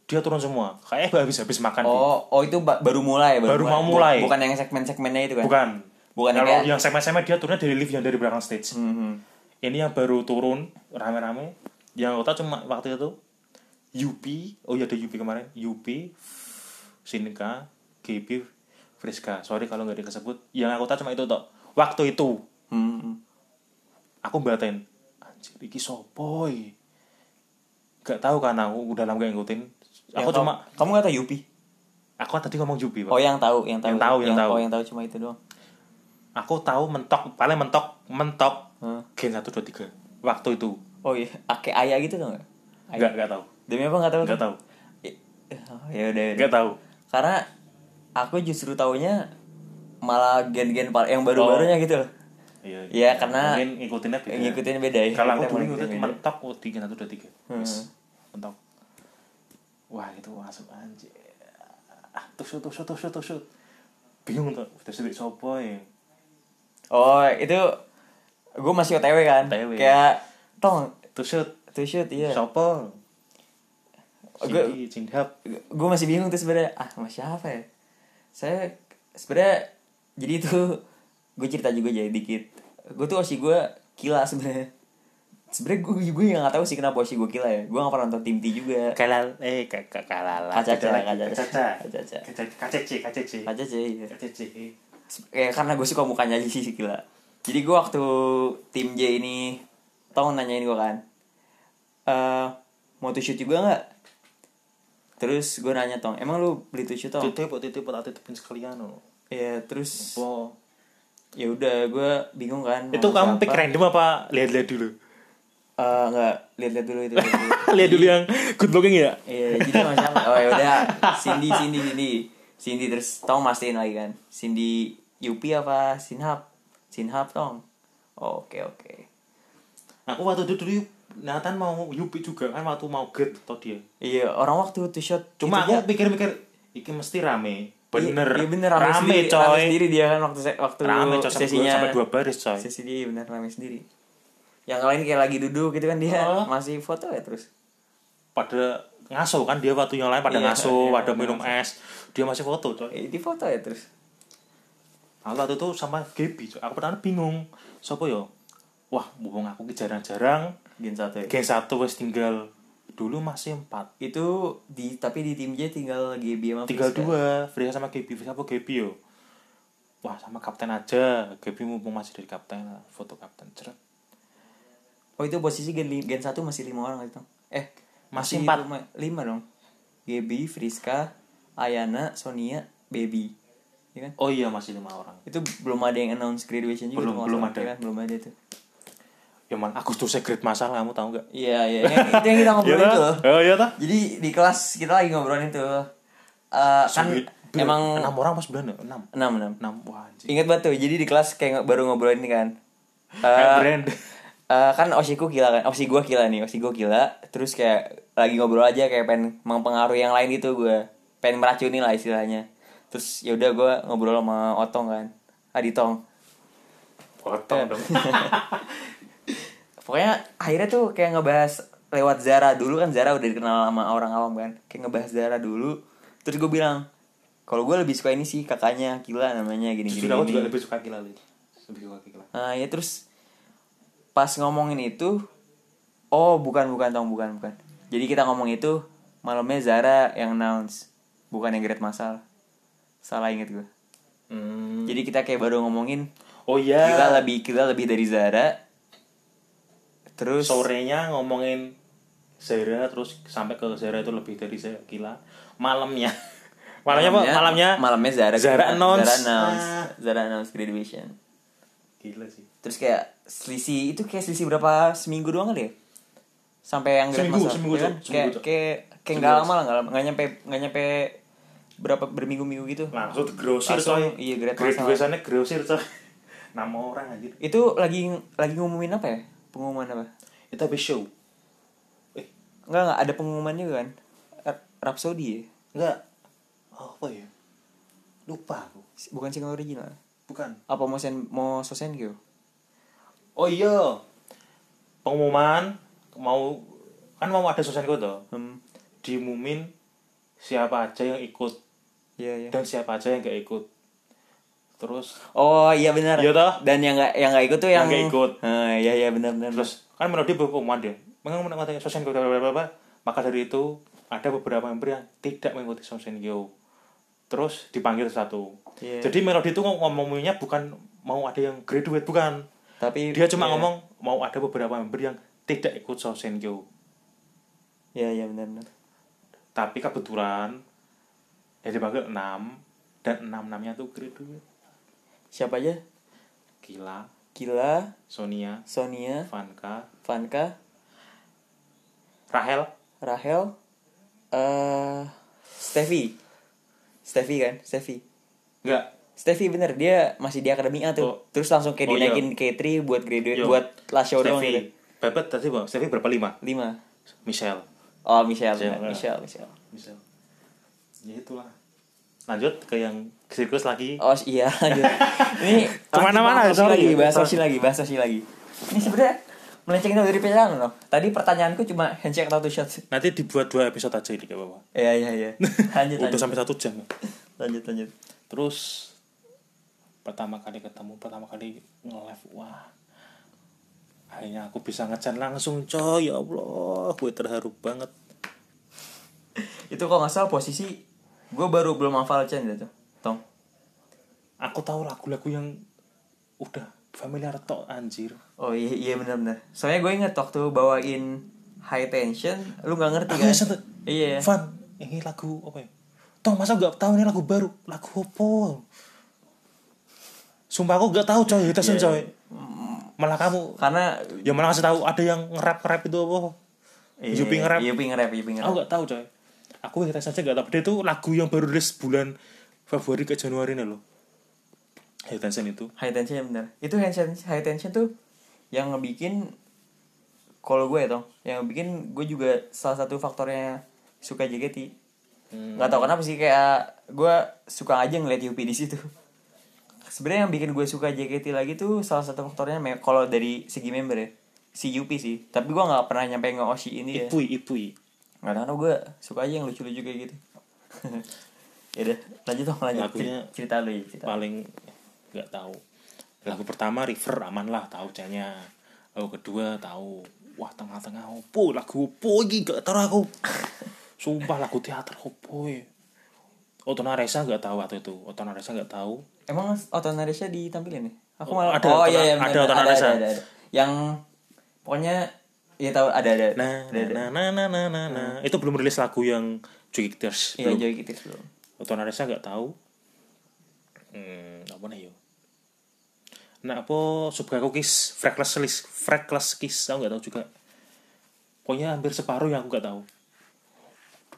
Speaker 2: dia turun semua kayaknya habis habis makan Bu.
Speaker 1: Oh, oh itu ba- baru mulai
Speaker 2: Baru mau mulai.
Speaker 1: Bu- Bukan yang segmen-segmennya itu kan?
Speaker 2: bukan
Speaker 1: Bukan yang
Speaker 2: kalau
Speaker 1: kayak-
Speaker 2: yang segmen-segmen dia turunnya dari lift yang dari belakang stage
Speaker 1: Mhm.
Speaker 2: ini yang baru turun rame-rame yang aku tahu cuma waktu itu Yupi oh iya ada Yupi kemarin Yupi Sinka Gebi Friska sorry kalau nggak dikesebut yang aku tahu cuma itu toh waktu itu
Speaker 1: Mhm.
Speaker 2: aku batin anjir iki sopoi gak tahu kan aku udah lama gak ngikutin aku
Speaker 1: Yang
Speaker 2: cuma
Speaker 1: tahu- kamu nggak tahu Yupi?
Speaker 2: aku tadi ngomong Jupi Pak.
Speaker 1: Oh yang tahu, yang tahu,
Speaker 2: Yang tahu, yang tahu.
Speaker 1: Oh yang tahu cuma itu doang.
Speaker 2: aku tahu mentok paling mentok mentok
Speaker 1: Hah?
Speaker 2: gen 1, 2, 3 waktu itu
Speaker 1: Oh iya, Ake Aya gitu tau nggak? Aya.
Speaker 2: nggak nggak tahu
Speaker 1: Demi apa nggak tahu?
Speaker 2: nggak tahu
Speaker 1: I- oh, ya udah. ya udah.
Speaker 2: nggak tahu
Speaker 1: Karena aku justru taunya malah gen-gen pal- yang baru-barunya gitu loh.
Speaker 2: iya
Speaker 1: Ya, karena-
Speaker 2: mungkin ngikutinnya beda.
Speaker 1: Yang ngikutin beda ya.
Speaker 2: kalau
Speaker 1: Kita malah
Speaker 2: aku dulu ngikutin
Speaker 1: ngikutin Hmm. beda.
Speaker 2: mentok oh, di gen 1, 2, 3 Wis, mentok wah itu masuk anjir Ah, tusuk tusuk tusuk tusuk bingung tuh terus duit ya? sopoi
Speaker 1: Oh, itu gue masih OTW kan.
Speaker 2: OTW.
Speaker 1: Kayak tong
Speaker 2: tusuk
Speaker 1: to shoot iya.
Speaker 2: Sopo?
Speaker 1: Gue
Speaker 2: Cindy, Cindhap.
Speaker 1: gue masih bingung tuh sebenarnya ah sama siapa ya saya sebenarnya jadi itu gue cerita juga jadi dikit gue tuh osi gue kila sebenarnya sebenarnya gue gue yang nggak tahu sih kenapa osi gue kila ya gue nggak pernah nonton tim T juga
Speaker 2: Kalal, eh kakak kalala.
Speaker 1: Kacaca,
Speaker 2: Beda
Speaker 1: kacaca.
Speaker 2: lagi. kacaca,
Speaker 1: Kacaca.
Speaker 2: Kacaca, kacece, kacece,
Speaker 1: aja sih ya.
Speaker 2: kacece.
Speaker 1: kayak karena gue suka mukanya aja sih gila jadi gue waktu tim J ini tong nanyain gue kan eh mau to shoot juga nggak terus gue nanya tong emang lu beli to shoot tong
Speaker 2: Titip, oh, titip, tak titipin sekalian. oh.
Speaker 1: ya terus
Speaker 2: Bo.
Speaker 1: ya udah gue bingung kan
Speaker 2: Itu
Speaker 1: mau
Speaker 2: kamu
Speaker 1: siapa.
Speaker 2: pick random apa lihat-lihat dulu?
Speaker 1: eh Eh, enggak, lihat-lihat dulu itu. lihat dulu.
Speaker 2: lihat dulu yang good looking ya
Speaker 1: Iya, jadi macam oh ya udah Cindy Cindy Cindy. Cindy terus Tong mastiin lagi kan. Cindy Yupi apa Sinhap? Sinhap Tong. Oh, Oke, oke.
Speaker 2: aku waktu itu dulu Nathan mau Yupi juga kan waktu mau get tau dia
Speaker 1: Iya, orang waktu itu shot
Speaker 2: cuma
Speaker 1: itu dia-
Speaker 2: aku pikir-pikir iki mesti rame bener
Speaker 1: Iya, iya bener rame,
Speaker 2: rame,
Speaker 1: sendiri,
Speaker 2: coy
Speaker 1: Rame
Speaker 2: rame,
Speaker 1: sendiri dia kan waktu se- waktu
Speaker 2: coy sampai dua,
Speaker 1: sesinya.
Speaker 2: sampai dua baris coy
Speaker 1: Sesi dia iya bener rame sendiri. Yang lain kayak lagi duduk gitu kan dia
Speaker 2: Oh.
Speaker 1: masih foto ya terus.
Speaker 2: pada ngaso kan dia waktu yang lain pada
Speaker 1: Iya,
Speaker 2: ngaso
Speaker 1: iya,
Speaker 2: pada
Speaker 1: pada
Speaker 2: minum es dia masih foto coy
Speaker 1: Eh, di foto ya terus.
Speaker 2: aku waktu itu sama Gaby coy. aku pertama bingung siapa yo wah bohong aku ki jarang-jarang
Speaker 1: Gen satu ya.
Speaker 2: Gen satu wes tinggal dulu masih empat
Speaker 1: Itu di tapi di tim J tinggal GB sama
Speaker 2: tinggal
Speaker 1: Friska.
Speaker 2: dua Frisa sama Gaby Frisa apa Gaby yo wah sama kapten aja Gaby mumpung masih dari kapten foto kapten ceret
Speaker 1: Oh itu posisi gen, li- gen 1 masih 5 orang gitu. Eh,
Speaker 2: Masih empat.
Speaker 1: 4 5 dong. Gaby, Friska, Ayana, Sonia, Baby. Ya kan?
Speaker 2: oh iya masih lima orang
Speaker 1: Itu belum ada yang announce graduation juga.
Speaker 2: Belum-
Speaker 1: tuh, kalau
Speaker 2: belum
Speaker 1: salah,
Speaker 2: ada.
Speaker 1: ya kan? Belum ada itu.
Speaker 2: ya man Agustus secret masalah kamu tahu nggak
Speaker 1: Iya, iya. Yang- itu yang kita ngobrolin itu loh.
Speaker 2: oh iya tah
Speaker 1: Jadi di kelas kita lagi ngobrolin itu. Eh kan emang
Speaker 2: enam orang pas bulan ya enam
Speaker 1: 6 6.
Speaker 2: enam wah anjing
Speaker 1: Ingat banget tuh, jadi di kelas kayak nge- baru ngobrolin ini kan.
Speaker 2: Eh,
Speaker 1: Eh,
Speaker 2: brand
Speaker 1: Eh, kan osiku gila kan osi gua gila nih osi gua gila terus kayak lagi ngobrol aja kayak pengen mempengaruhi yang lain gitu gua pengen meracuni lah istilahnya terus ya udah gua ngobrol sama otong kan aditong
Speaker 2: potong dong
Speaker 1: pokoknya akhirnya tuh kayak ngebahas lewat Zara dulu kan Zara udah dikenal sama orang awam kan kayak ngebahas Zara dulu terus gue bilang kalau gue lebih suka ini sih kakaknya gila namanya gini gini,
Speaker 2: jujur aku
Speaker 1: gini.
Speaker 2: juga lebih suka gila lebih suka gila
Speaker 1: Nah, ya terus pas ngomongin itu oh bukan bukan tong bukan bukan. Jadi kita ngomong itu malamnya Zara yang announce bukan yang grade masal. Salah inget gue.
Speaker 2: hmm.
Speaker 1: Jadi kita kayak baru ngomongin
Speaker 2: oh
Speaker 1: kita
Speaker 2: iya
Speaker 1: lebih kita lebih dari Zara. Terus
Speaker 2: sorenya ngomongin Zara terus sampai ke Zara itu lebih dari Zara gila malamnya malamnya apa malamnya
Speaker 1: malamnya Zara
Speaker 2: Zara announce.
Speaker 1: Zara announce,
Speaker 2: Ah.
Speaker 1: Zara announce graduation.
Speaker 2: gila sih
Speaker 1: Terus kayak selisih itu kayak selisih berapa seminggu doang kali ya? Sampai yang grade
Speaker 2: Seminggu,
Speaker 1: masal,
Speaker 2: seminggu,
Speaker 1: ya kan?
Speaker 2: Cok.
Speaker 1: Kayak
Speaker 2: Seminggu, Cok.
Speaker 1: kayak kayak nggak lama lah, nggak lama, nggak nyampe nggak nyampe berapa berminggu-minggu gitu.
Speaker 2: langsung grosir
Speaker 1: Langsung,
Speaker 2: coy
Speaker 1: iya, grade masalah.
Speaker 2: biasanya grosir coy nama orang anjir
Speaker 1: Itu lagi lagi ngumumin apa ya? Pengumuman apa?
Speaker 2: itu habis show eh
Speaker 1: Enggak enggak ada pengumuman juga kan. R- Rhapsody ya?
Speaker 2: enggak oh, apa ya lupa aku
Speaker 1: S- Bukan single original.
Speaker 2: bukan
Speaker 1: Apa mau sen mau gitu? sosenkyo?
Speaker 2: oh iya pengumuman mau kan mau ada susanku tuh
Speaker 1: Hmm.
Speaker 2: diumumin siapa aja yang ikut
Speaker 1: Iya, iya.
Speaker 2: dan siapa aja yang gak ikut terus
Speaker 1: Oh, iya benar.
Speaker 2: Iya toh?
Speaker 1: Dan yang enggak yang enggak ikut tuh yang
Speaker 2: Yang nggak ikut.
Speaker 1: Ah, iya iya benar benar.
Speaker 2: terus kan melodi pengumuman dia mengenai sosial apa maka dari itu ada beberapa member yang tidak mengikuti sosial terus dipanggil satu
Speaker 1: Iya.
Speaker 2: jadi melodi itu ngomonginnya bukan mau ada yang graduate bukan
Speaker 1: Tapi
Speaker 2: dia cuma
Speaker 1: iya.
Speaker 2: ngomong mau ada beberapa member yang tidak ikut sosial
Speaker 1: Iya iya benar benar.
Speaker 2: tapi kebetulan ya dipanggil 6 dan 6 enamnya tuh graduate
Speaker 1: Siapa aja?
Speaker 2: gila
Speaker 1: Kila,
Speaker 2: Sonia
Speaker 1: Sonia,
Speaker 2: Vanka
Speaker 1: Vanka,
Speaker 2: Rahel
Speaker 1: Rahel, eh Steffi. Steffi kan? Steffi.
Speaker 2: enggak
Speaker 1: Steffi bener, dia masih di Akademi A tuh.
Speaker 2: Oh.
Speaker 1: Terus langsung kayak
Speaker 2: Oh, iya.
Speaker 1: dinaikin K3 buat graduate,
Speaker 2: Yo.
Speaker 1: buat last show doang gitu.
Speaker 2: Steffi Bebet tadi bang Steffi berapa lima
Speaker 1: Lima.
Speaker 2: Michelle
Speaker 1: Oh, Michelle.
Speaker 2: Michelle,
Speaker 1: bener.
Speaker 2: ya.
Speaker 1: Michelle, Michelle.
Speaker 2: Michelle ya itulah lanjut ke yang sirkus lagi
Speaker 1: Oh iya, lanjut. Ini
Speaker 2: Kemana-mana,
Speaker 1: bahas sosis
Speaker 2: sorry.
Speaker 1: lagi, bahas sosis lagi, bahas sosis lagi. Ini sebenarnya melenceng jauh dari pertanyaan loh. Tadi pertanyaanku cuma handshake atau two shots.
Speaker 2: nanti dibuat dua episode aja ini gak apa-apa
Speaker 1: Iya, iya, iya. Lanjut,
Speaker 2: udah
Speaker 1: lanjut.
Speaker 2: sampai satu jam
Speaker 1: Lanjut, lanjut.
Speaker 2: terus pertama kali ketemu pertama kali nge-live wah akhirnya aku bisa ngecan langsung coy ya Allah gue terharu banget
Speaker 1: itu kalau nggak salah posisi gue baru belum hafal Chen gitu Tong
Speaker 2: aku tahu lagu-lagu yang udah familiar tok anjir
Speaker 1: oh iya iya benar benar soalnya gue inget waktu bawain high tension lu nggak ngerti
Speaker 2: Aku
Speaker 1: kan
Speaker 2: ngeset tuh.
Speaker 1: iya
Speaker 2: Van ini lagu apa ya Tong masa gak tahu ini lagu baru lagu apa sumpah aku gak tahu coy kita coy
Speaker 1: Mm,
Speaker 2: malah kamu
Speaker 1: karena
Speaker 2: ya malah ngasih tahu ada yang ngerap ngerap itu apa Yupi nge-rap.
Speaker 1: Yupi nge-rap, Yupi nge-rap.
Speaker 2: aku nggak tahu coy aku kita saja nggak tahu dia itu lagu yang baru rilis bulan Februari ke Januari nih loh Hey Tension itu
Speaker 1: high tension yang benar itu high tension high tension tuh yang ngebikin kalau gue ya toh yang ngebikin gue juga salah satu faktornya suka JKT nggak tahu kenapa sih kayak gue suka aja ngeliat Yupi di situ sebenarnya yang bikin gue suka JKT lagi tuh salah satu faktornya me- kalau dari segi member ya si Yupi sih tapi gue nggak pernah nyampe nge Oshi ini ya
Speaker 2: Ipui Ipui
Speaker 1: nggak tahu kenapa gue suka aja yang lucu-lucu kayak gitu ya udah lanjut dong lanjut
Speaker 2: Lagunya-
Speaker 1: Cer- cerita lu ya cerita
Speaker 2: paling nggak tahu lagu pertama River aman lah tahu canya lagu kedua tahu wah tengah-tengah opo lagu opo iki gak tahu aku sumpah lagu teater opo ya Otona Reza gak tahu waktu itu Otona Reza gak tahu
Speaker 1: Emang Otona Reza ditampilin ya? Aku
Speaker 2: Oh,
Speaker 1: malah
Speaker 2: ada Otona- ada
Speaker 1: benar-benar.
Speaker 2: Otona Reza.
Speaker 1: ada. Yang pokoknya ya tahu ada ada.
Speaker 2: nah
Speaker 1: ada, ada.
Speaker 2: nah nah nah nah nah, nah. itu belum rilis lagu yang Cuy Tears
Speaker 1: Iya,
Speaker 2: belum
Speaker 1: Joy gitu belum.
Speaker 2: Otona Reza gak tahu hmm apa nih yo nah apa Subgako Kiss Freckles Kiss Freckles Kiss aku gak tahu juga pokoknya hampir separuh yang aku gak tahu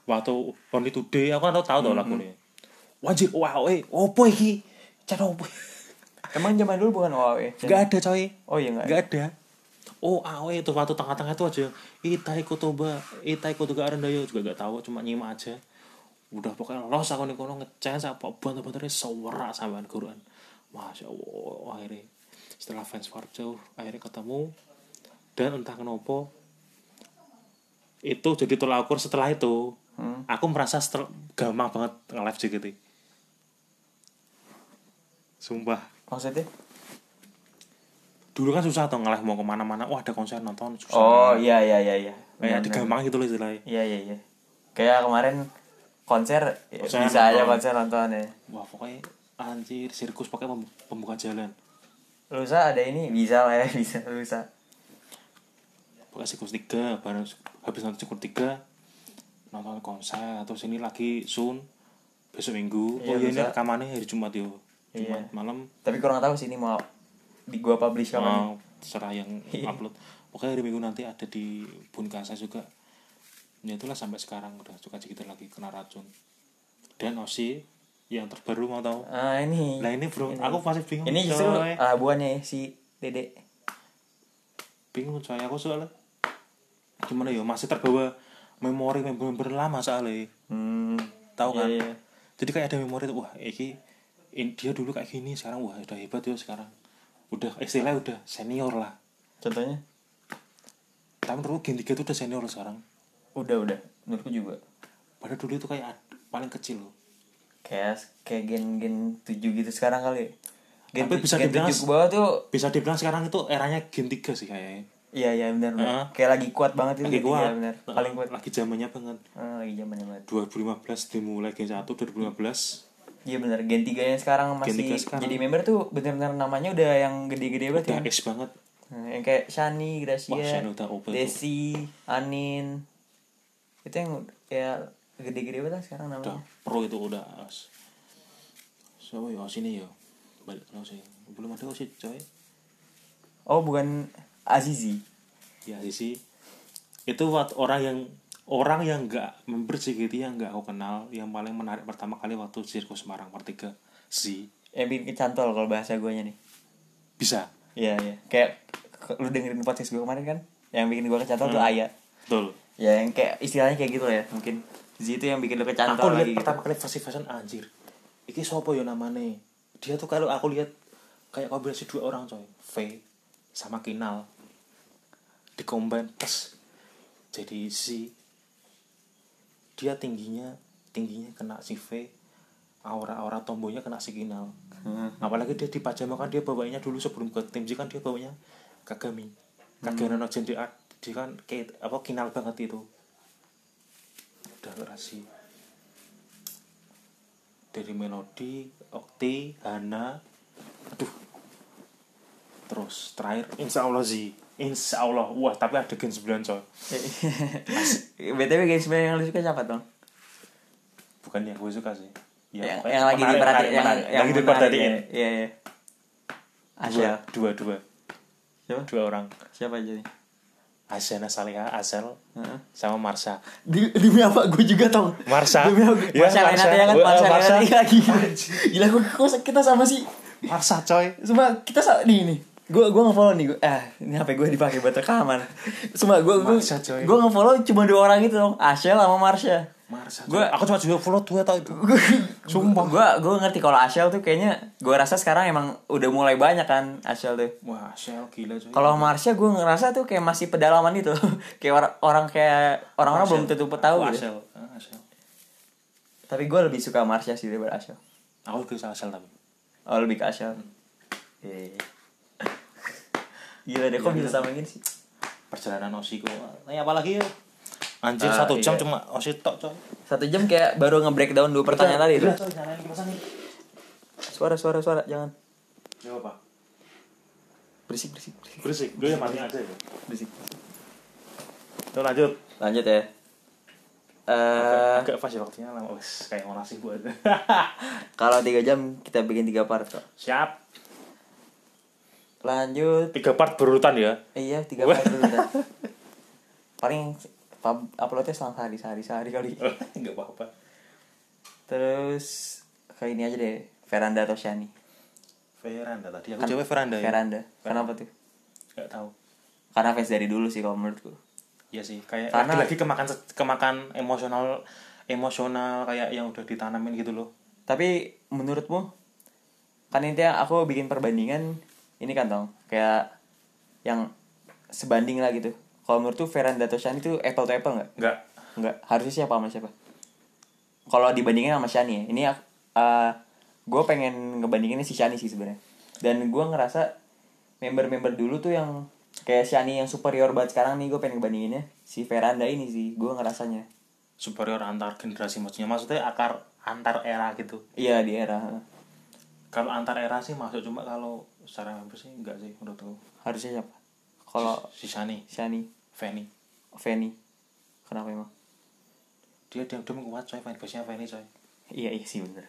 Speaker 2: waktu Only Today aku kan tahu tahu mm lagu ini wajib wow eh opo iki cara opo
Speaker 1: Emang zaman dulu bukan OAW.
Speaker 2: gak ada coy
Speaker 1: Oh iya enggak.
Speaker 2: nggak ada oh awe itu waktu tengah-tengah itu aja itai kotoba itai kotoba arendayo juga gak tahu cuma nyimak aja udah pokoknya los aku nih kono ngecas apa bantu-bantunya sewerak sampean guruan masya allah akhirnya setelah fans war jauh akhirnya ketemu dan entah kenapa itu jadi tolak ukur setelah itu
Speaker 1: Hmm.
Speaker 2: aku merasa setel- gampang banget nge-live JKT sumpah
Speaker 1: Maksudnya?
Speaker 2: dulu kan susah tuh ngelah mau kemana-mana wah ada konser nonton susah
Speaker 1: Oh iya iya iya iya.
Speaker 2: kayak
Speaker 1: Benar, benar.
Speaker 2: digampang gitu loh istilahnya
Speaker 1: Iya iya iya. Kayak kemarin konser ya,
Speaker 2: Konser
Speaker 1: bisa aja
Speaker 2: nonton.
Speaker 1: konser nonton ya.
Speaker 2: wah pokoknya anjir sirkus pakai pem- pembuka jalan
Speaker 1: Lusa ada ini bisa lah ya bisa lusa.
Speaker 2: pakai sirkus tiga bareng habis nonton sirkus tiga nonton konser terus ini lagi Sun besok minggu
Speaker 1: Iya,
Speaker 2: oh iya ini
Speaker 1: bisa.
Speaker 2: rekamannya hari Jumat yo Jumat
Speaker 1: Iya.
Speaker 2: malam
Speaker 1: Tapi kurang tahu sih ini mau di gua publish kapan.
Speaker 2: mau serah yang
Speaker 1: Iya.
Speaker 2: upload pokoknya hari minggu nanti ada di Bunkasa juga ya itulah sampai sekarang udah suka kita lagi kena racun dan Osi yang terbaru mau tahu
Speaker 1: Ah ini.
Speaker 2: Nah ini bro, aku masih bingung
Speaker 1: Ini justru
Speaker 2: coy.
Speaker 1: ah, buahnya ya, si Dede.
Speaker 2: bingung coy aku soalnya gimana ya masih terbawa memori member-member lama soalnya
Speaker 1: Hmm,
Speaker 2: tahu kan?
Speaker 1: Iya, iya.
Speaker 2: Jadi kayak ada memori tuh wah iki in- dia dulu kayak gini sekarang wah udah hebat ya sekarang udah istilahnya udah senior lah
Speaker 1: Contohnya?
Speaker 2: tapi menurutku Gen 3 tuh udah senior loh sekarang
Speaker 1: Udah udah. Menurutku juga.
Speaker 2: padahal dulu itu kayak ad- paling kecil loh
Speaker 1: Kayak kayak gen-gen 7 gitu sekarang kali. ya. Gen,
Speaker 2: Tapi bisa
Speaker 1: gen
Speaker 2: dibilang-
Speaker 1: 7 ke bawah tuh
Speaker 2: bisa dibilang sekarang itu eranya Gen 3 sih kayaknya
Speaker 1: Iya iya benar benar.
Speaker 2: Heeh.
Speaker 1: Kayak lagi kuat banget itu
Speaker 2: lagi
Speaker 1: gen tiga,
Speaker 2: kuat
Speaker 1: benar.
Speaker 2: Nah,
Speaker 1: Paling kuat.
Speaker 2: lagi zamannya banget
Speaker 1: Ah, lagi zamannya banget.
Speaker 2: 2015 dimulai Gen 1 2015
Speaker 1: Iya benar. Gen 3 yang sekarang masih
Speaker 2: tiga sekarang.
Speaker 1: jadi member tuh benar-benar namanya udah yang gede-gede banget
Speaker 2: udah
Speaker 1: kan. Iya.
Speaker 2: es banget
Speaker 1: Nah, yang kayak Shani, Gracia,
Speaker 2: Wah, Shani udah open tuh.
Speaker 1: Desi, Anin. Itu yang ya gede-gede banget lah sekarang namanya.
Speaker 2: udah pro itu udah as so yo Oh, sini yo balik ke sini belum ada sih coy
Speaker 1: Oh bukan Azizi
Speaker 2: ya sisi itu wat orang yang orang yang nggak member JKT yang nggak aku kenal yang paling menarik pertama kali waktu sirkus Semarang Pertiga si
Speaker 1: Yang bikin kecantol kalau bahasa guanya nih
Speaker 2: bisa
Speaker 1: Iya iya Kayak k- lu dengerin podcast gue kemarin kan Yang bikin gue kecantol tuh Aya
Speaker 2: betul
Speaker 1: Ya yang kayak istilahnya kayak gitu lah ya mungkin Z itu yang bikin lu kecantol
Speaker 2: aku lihat
Speaker 1: lagi gitu.
Speaker 2: pertama kali versi fashion anjir iki sopo yo namanya dia tuh kalau aku lihat kayak kombinasi dua orang coy V sama Kinal dikombin plus jadi si dia tingginya tingginya kena si V aura-aura tombonya kena si Kinal
Speaker 1: Hmm.
Speaker 2: apalagi dia di pajama kan dia bawanya dulu sebelum ke tim J kan dia bawanya Kagami
Speaker 1: Hmm.
Speaker 2: Kagami no Gen dia, dia kan kayak apa Kinal banget itu udah ngerasi dari melodi Okti Hana aduh terus terakhir Insya Allah sih Insya Allah wah tapi ada gen 9 coy
Speaker 1: BTW guys sebenarnya yang lu suka siapa dong?
Speaker 2: bukan yang gue suka sih
Speaker 1: yang,
Speaker 2: pokoknya
Speaker 1: yang lagi
Speaker 2: menarik,
Speaker 1: diperhatiin yang,
Speaker 2: menarik,
Speaker 1: ya.
Speaker 2: menarik.
Speaker 1: yang
Speaker 2: lagi
Speaker 1: menarik,
Speaker 2: diperhatiin
Speaker 1: ya. Iya iya.
Speaker 2: dua
Speaker 1: Asia.
Speaker 2: dua dua
Speaker 1: Siapa?
Speaker 2: dua orang
Speaker 1: Siapa aja nih?
Speaker 2: Azana Saleha Azel
Speaker 1: Heeh.
Speaker 2: sama Marsha
Speaker 1: Di, demi apa gue juga tau
Speaker 2: Marsha
Speaker 1: Demi apa?
Speaker 2: Ya,
Speaker 1: Marsha Renata ya kan
Speaker 2: Gua-
Speaker 1: Marsha
Speaker 2: eh, Marsha.
Speaker 1: Renata lagi Gila gue kok kita sama sih
Speaker 2: Marsha coy
Speaker 1: Cuma kita sama nih nih Gue gue ngefollow nih gue ah ini HP gue dipakai buat rekaman. Cuma gue gue
Speaker 2: Marsha, coy.
Speaker 1: gue ngefollow cuma dua orang itu dong, Ashel sama Marsha.
Speaker 2: Marsha
Speaker 1: Gua-
Speaker 2: gua aku cuma juga follow dua tau itu
Speaker 1: Sumpah. Gue gue ngerti kalau Ashel tuh kayaknya gue rasa sekarang emang udah mulai banyak kan Ashel tuh.
Speaker 2: wah Shell gila coy
Speaker 1: Kalau Marsha gue ngerasa tuh kayak masih pedalaman itu. kayak or- orang kayak orang-orang belum tentu tahu gitu.
Speaker 2: Asel Asel
Speaker 1: Tapi gue lebih suka Marsha sih daripada Ashel.
Speaker 2: aku lebih salah Asel tapi
Speaker 1: Oh lebih ke Ashel. Iya. Gila deh kok
Speaker 2: Iya,
Speaker 1: bisa sama gini sih.
Speaker 2: perjalanan Osiku tanya apa lagi yuk ya? anjir
Speaker 1: Ah,
Speaker 2: satu jam
Speaker 1: iya.
Speaker 2: cuma Osi tok coy
Speaker 1: Satu jam kayak baru nge-breakdown dua pertanyaan tadi itu.
Speaker 2: Gila, coy, nyalain kipasan nih
Speaker 1: Suara suara suara jangan.
Speaker 2: ya apa
Speaker 1: Berisik berisik berisik.
Speaker 2: berisik gue yang matiin aja ya
Speaker 1: berisik.
Speaker 2: Tuh lanjut
Speaker 1: Lanjut ya. Eh
Speaker 2: Agak pas ya waktunya lama Wes, kayak mau nasi buat
Speaker 1: kalau tiga jam kita bikin tiga part kok.
Speaker 2: Siap
Speaker 1: Lanjut.
Speaker 2: Tiga part berurutan ya
Speaker 1: Eh, iya tiga part dulu dah. Paling pub- uploadnya selang sehari sehari sehari kali.
Speaker 2: Gak apa-apa
Speaker 1: Terus kayak ini aja deh. Veranda atau Shani?
Speaker 2: Veranda tadi aku
Speaker 1: Kan-
Speaker 2: jawabnya Veranda ya
Speaker 1: Veranda. Kenapa tuh?
Speaker 2: Gak tau
Speaker 1: Karena fans dari dulu sih kalau menurutku.
Speaker 2: Iya sih kayak
Speaker 1: Karena-
Speaker 2: lagi-lagi kemakan kemakan emosional emosional kayak yang udah ditanamin gitu loh
Speaker 1: Tapi menurutmu kan intinya aku bikin perbandingan ini kan tong kayak yang sebanding lah gitu. Kalau menurut tuh Veranda atau Shani tuh apple to apple nggak?
Speaker 2: Enggak
Speaker 1: Nggak. Harusnya siapa sama siapa? Kalau dibandingin sama Shani ya. Ini gue pengen ngebandinginnya si Shani sih sebenarnya. Dan gue ngerasa member-member dulu tuh yang kayak Shani yang superior banget sekarang nih gue pengen ngebandinginnya si Veranda ini sih gue ngerasanya.
Speaker 2: superior antar generasi maksudnya maksudnya akar antar era gitu
Speaker 1: Iya di era heeh.
Speaker 2: kalau antar era sih masuk cuma kalau secara member sih enggak sih menurutku
Speaker 1: harusnya siapa? Kalau
Speaker 2: si Shani
Speaker 1: Shani,
Speaker 2: Fanny
Speaker 1: Fanny. Kenapa emang?
Speaker 2: dia diam-diam kuat coy fanbase nya Fanny coy
Speaker 1: Iya, iya sih bener.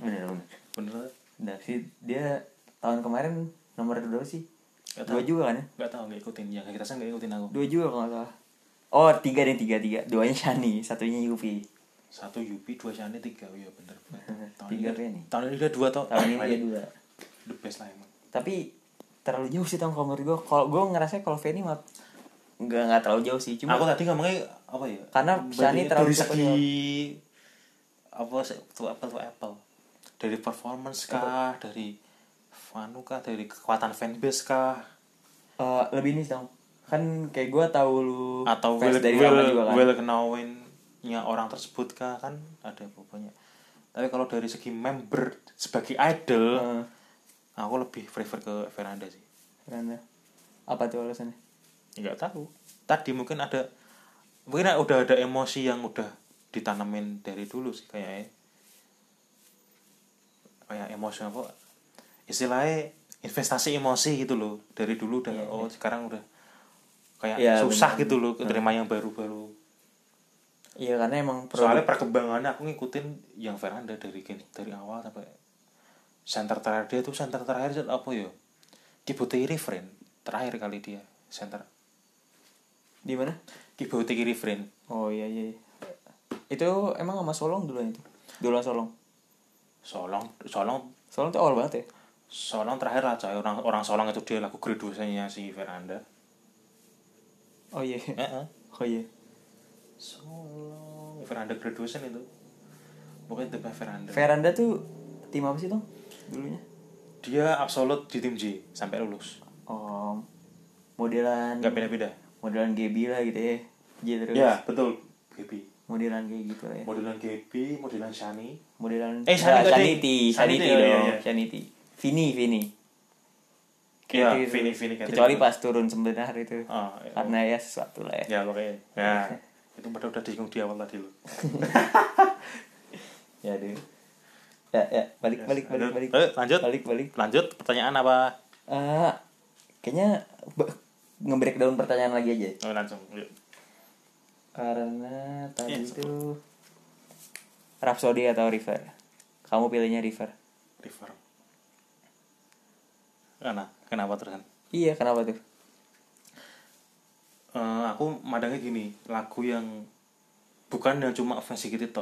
Speaker 1: Bener, bener.
Speaker 2: bener
Speaker 1: Bener sih, dia tahun kemarin nomor berapa sih?
Speaker 2: Gak
Speaker 1: Dua juga kan ya?
Speaker 2: Gak tau, gak ikutin. Ya, kita nggak ikutin aku.
Speaker 1: Dua juga kalau nggak salah. Oh, tiga deh, tiga, tiga. Duanya Shani, satunya Yupi.
Speaker 2: Satu Yupi, dua Shani, tiga. Oh, Iya bener. bener. Tahun
Speaker 1: Tiga
Speaker 2: ini,
Speaker 1: tuh ya nih.
Speaker 2: tahun ini udah dua tau.
Speaker 1: Tahun ini
Speaker 2: Ah,
Speaker 1: dia
Speaker 2: baik.
Speaker 1: dua.
Speaker 2: The best lah emang.
Speaker 1: Tapi terlalu jauh sih tahun kalau menurut gue. Kalau gue ngerasa kalau Fanny mah nggak nggak terlalu jauh sih. Cuma
Speaker 2: aku tadi ngomongnya apa ya?
Speaker 1: Karena Shani
Speaker 2: Bandingin
Speaker 1: terlalu
Speaker 2: dari
Speaker 1: cepat
Speaker 2: segi apa sih tuh apple tuh apple dari performance kah dari fanu kah dari kekuatan fanbase kah
Speaker 1: eh, lebih ini sih dong. Kan kayak gue tahu lu
Speaker 2: atau
Speaker 1: fans
Speaker 2: will
Speaker 1: dari
Speaker 2: will,
Speaker 1: lama juga kan.
Speaker 2: will knowing-nya orang tersebut kah kan ada pokoknya tapi kalau dari segi member sebagai idol
Speaker 1: Heeh.
Speaker 2: aku lebih prefer ke Veranda sih
Speaker 1: Karena apa tuh alasannya?
Speaker 2: nggak tahu tadi mungkin ada mungkin udah ada emosi yang udah ditanamin dari dulu sih kayaknya kayak emosi apa istilahnya investasi emosi gitu loh dari dulu udah oh sekarang udah kayak
Speaker 1: Iya,
Speaker 2: susah gitu loh terima yang baru-baru
Speaker 1: Iya karena emang produk
Speaker 2: soalnya perkembangannya aku ngikutin yang Veranda dari gen- dari awal sampai center terakhir dia tuh center terakhir apa ya Kibutei Refrain terakhir kali dia center
Speaker 1: di mana?
Speaker 2: Kibutei Refrain
Speaker 1: Oh iya iya. iya. Itu emang sama Solong duluan itu. Duluan Solong.
Speaker 2: Solong Solong
Speaker 1: Solong tuh awal banget ya.
Speaker 2: Solong terakhir lah coy orang orang Solong itu dia lagu graduationnya si Veranda
Speaker 1: Oh iya.
Speaker 2: eh, eh.
Speaker 1: Oh iya.
Speaker 2: Solong Veranda graduation itu mungkin itu Veranda
Speaker 1: Veranda tuh tim apa sih Tong? Dulunya?
Speaker 2: dia absolut di tim J sampai lulus
Speaker 1: Oh modelan
Speaker 2: nggak beda-beda
Speaker 1: modelan GB lah gitu ya. J terus.
Speaker 2: ya betul Gaby
Speaker 1: Modelan kayak gitu lah ya.
Speaker 2: modelan Gaby modelan Shani
Speaker 1: Modelan
Speaker 2: Eh, Sanity tadi.
Speaker 1: Sanity, Sanity,
Speaker 2: Sanity, oh, iya,
Speaker 1: dong.
Speaker 2: iya.
Speaker 1: Sanity. Vini, Vini.
Speaker 2: Iya,
Speaker 1: Kayak gitu.
Speaker 2: Vini, Vini, kayak
Speaker 1: Kecuali
Speaker 2: gitu.
Speaker 1: pas turun sebenarnya itu.
Speaker 2: Ah, iya.
Speaker 1: Karena ya sesuatu lah ya.
Speaker 2: ya pokoknya ya itu padahal udah disinggung di awal tadi loh
Speaker 1: Ya deh. Ya ya balik balik balik
Speaker 2: Iya. Lanjut.
Speaker 1: balik.
Speaker 2: Eh, lanjut.
Speaker 1: Balik balik.
Speaker 2: lanjut pertanyaan apa
Speaker 1: Eh, kayaknya ba- nge-breakdown pertanyaan lagi aja.
Speaker 2: oh, langsung yuk.
Speaker 1: Karena tadi
Speaker 2: Iya,
Speaker 1: itu Rhapsody atau River? Kamu pilihnya River.
Speaker 2: River. Karena kenapa terus kan?
Speaker 1: Iya, kenapa tuh?
Speaker 2: Eh, aku madangnya gini lagu yang bukan yang cuma offensive gitu tok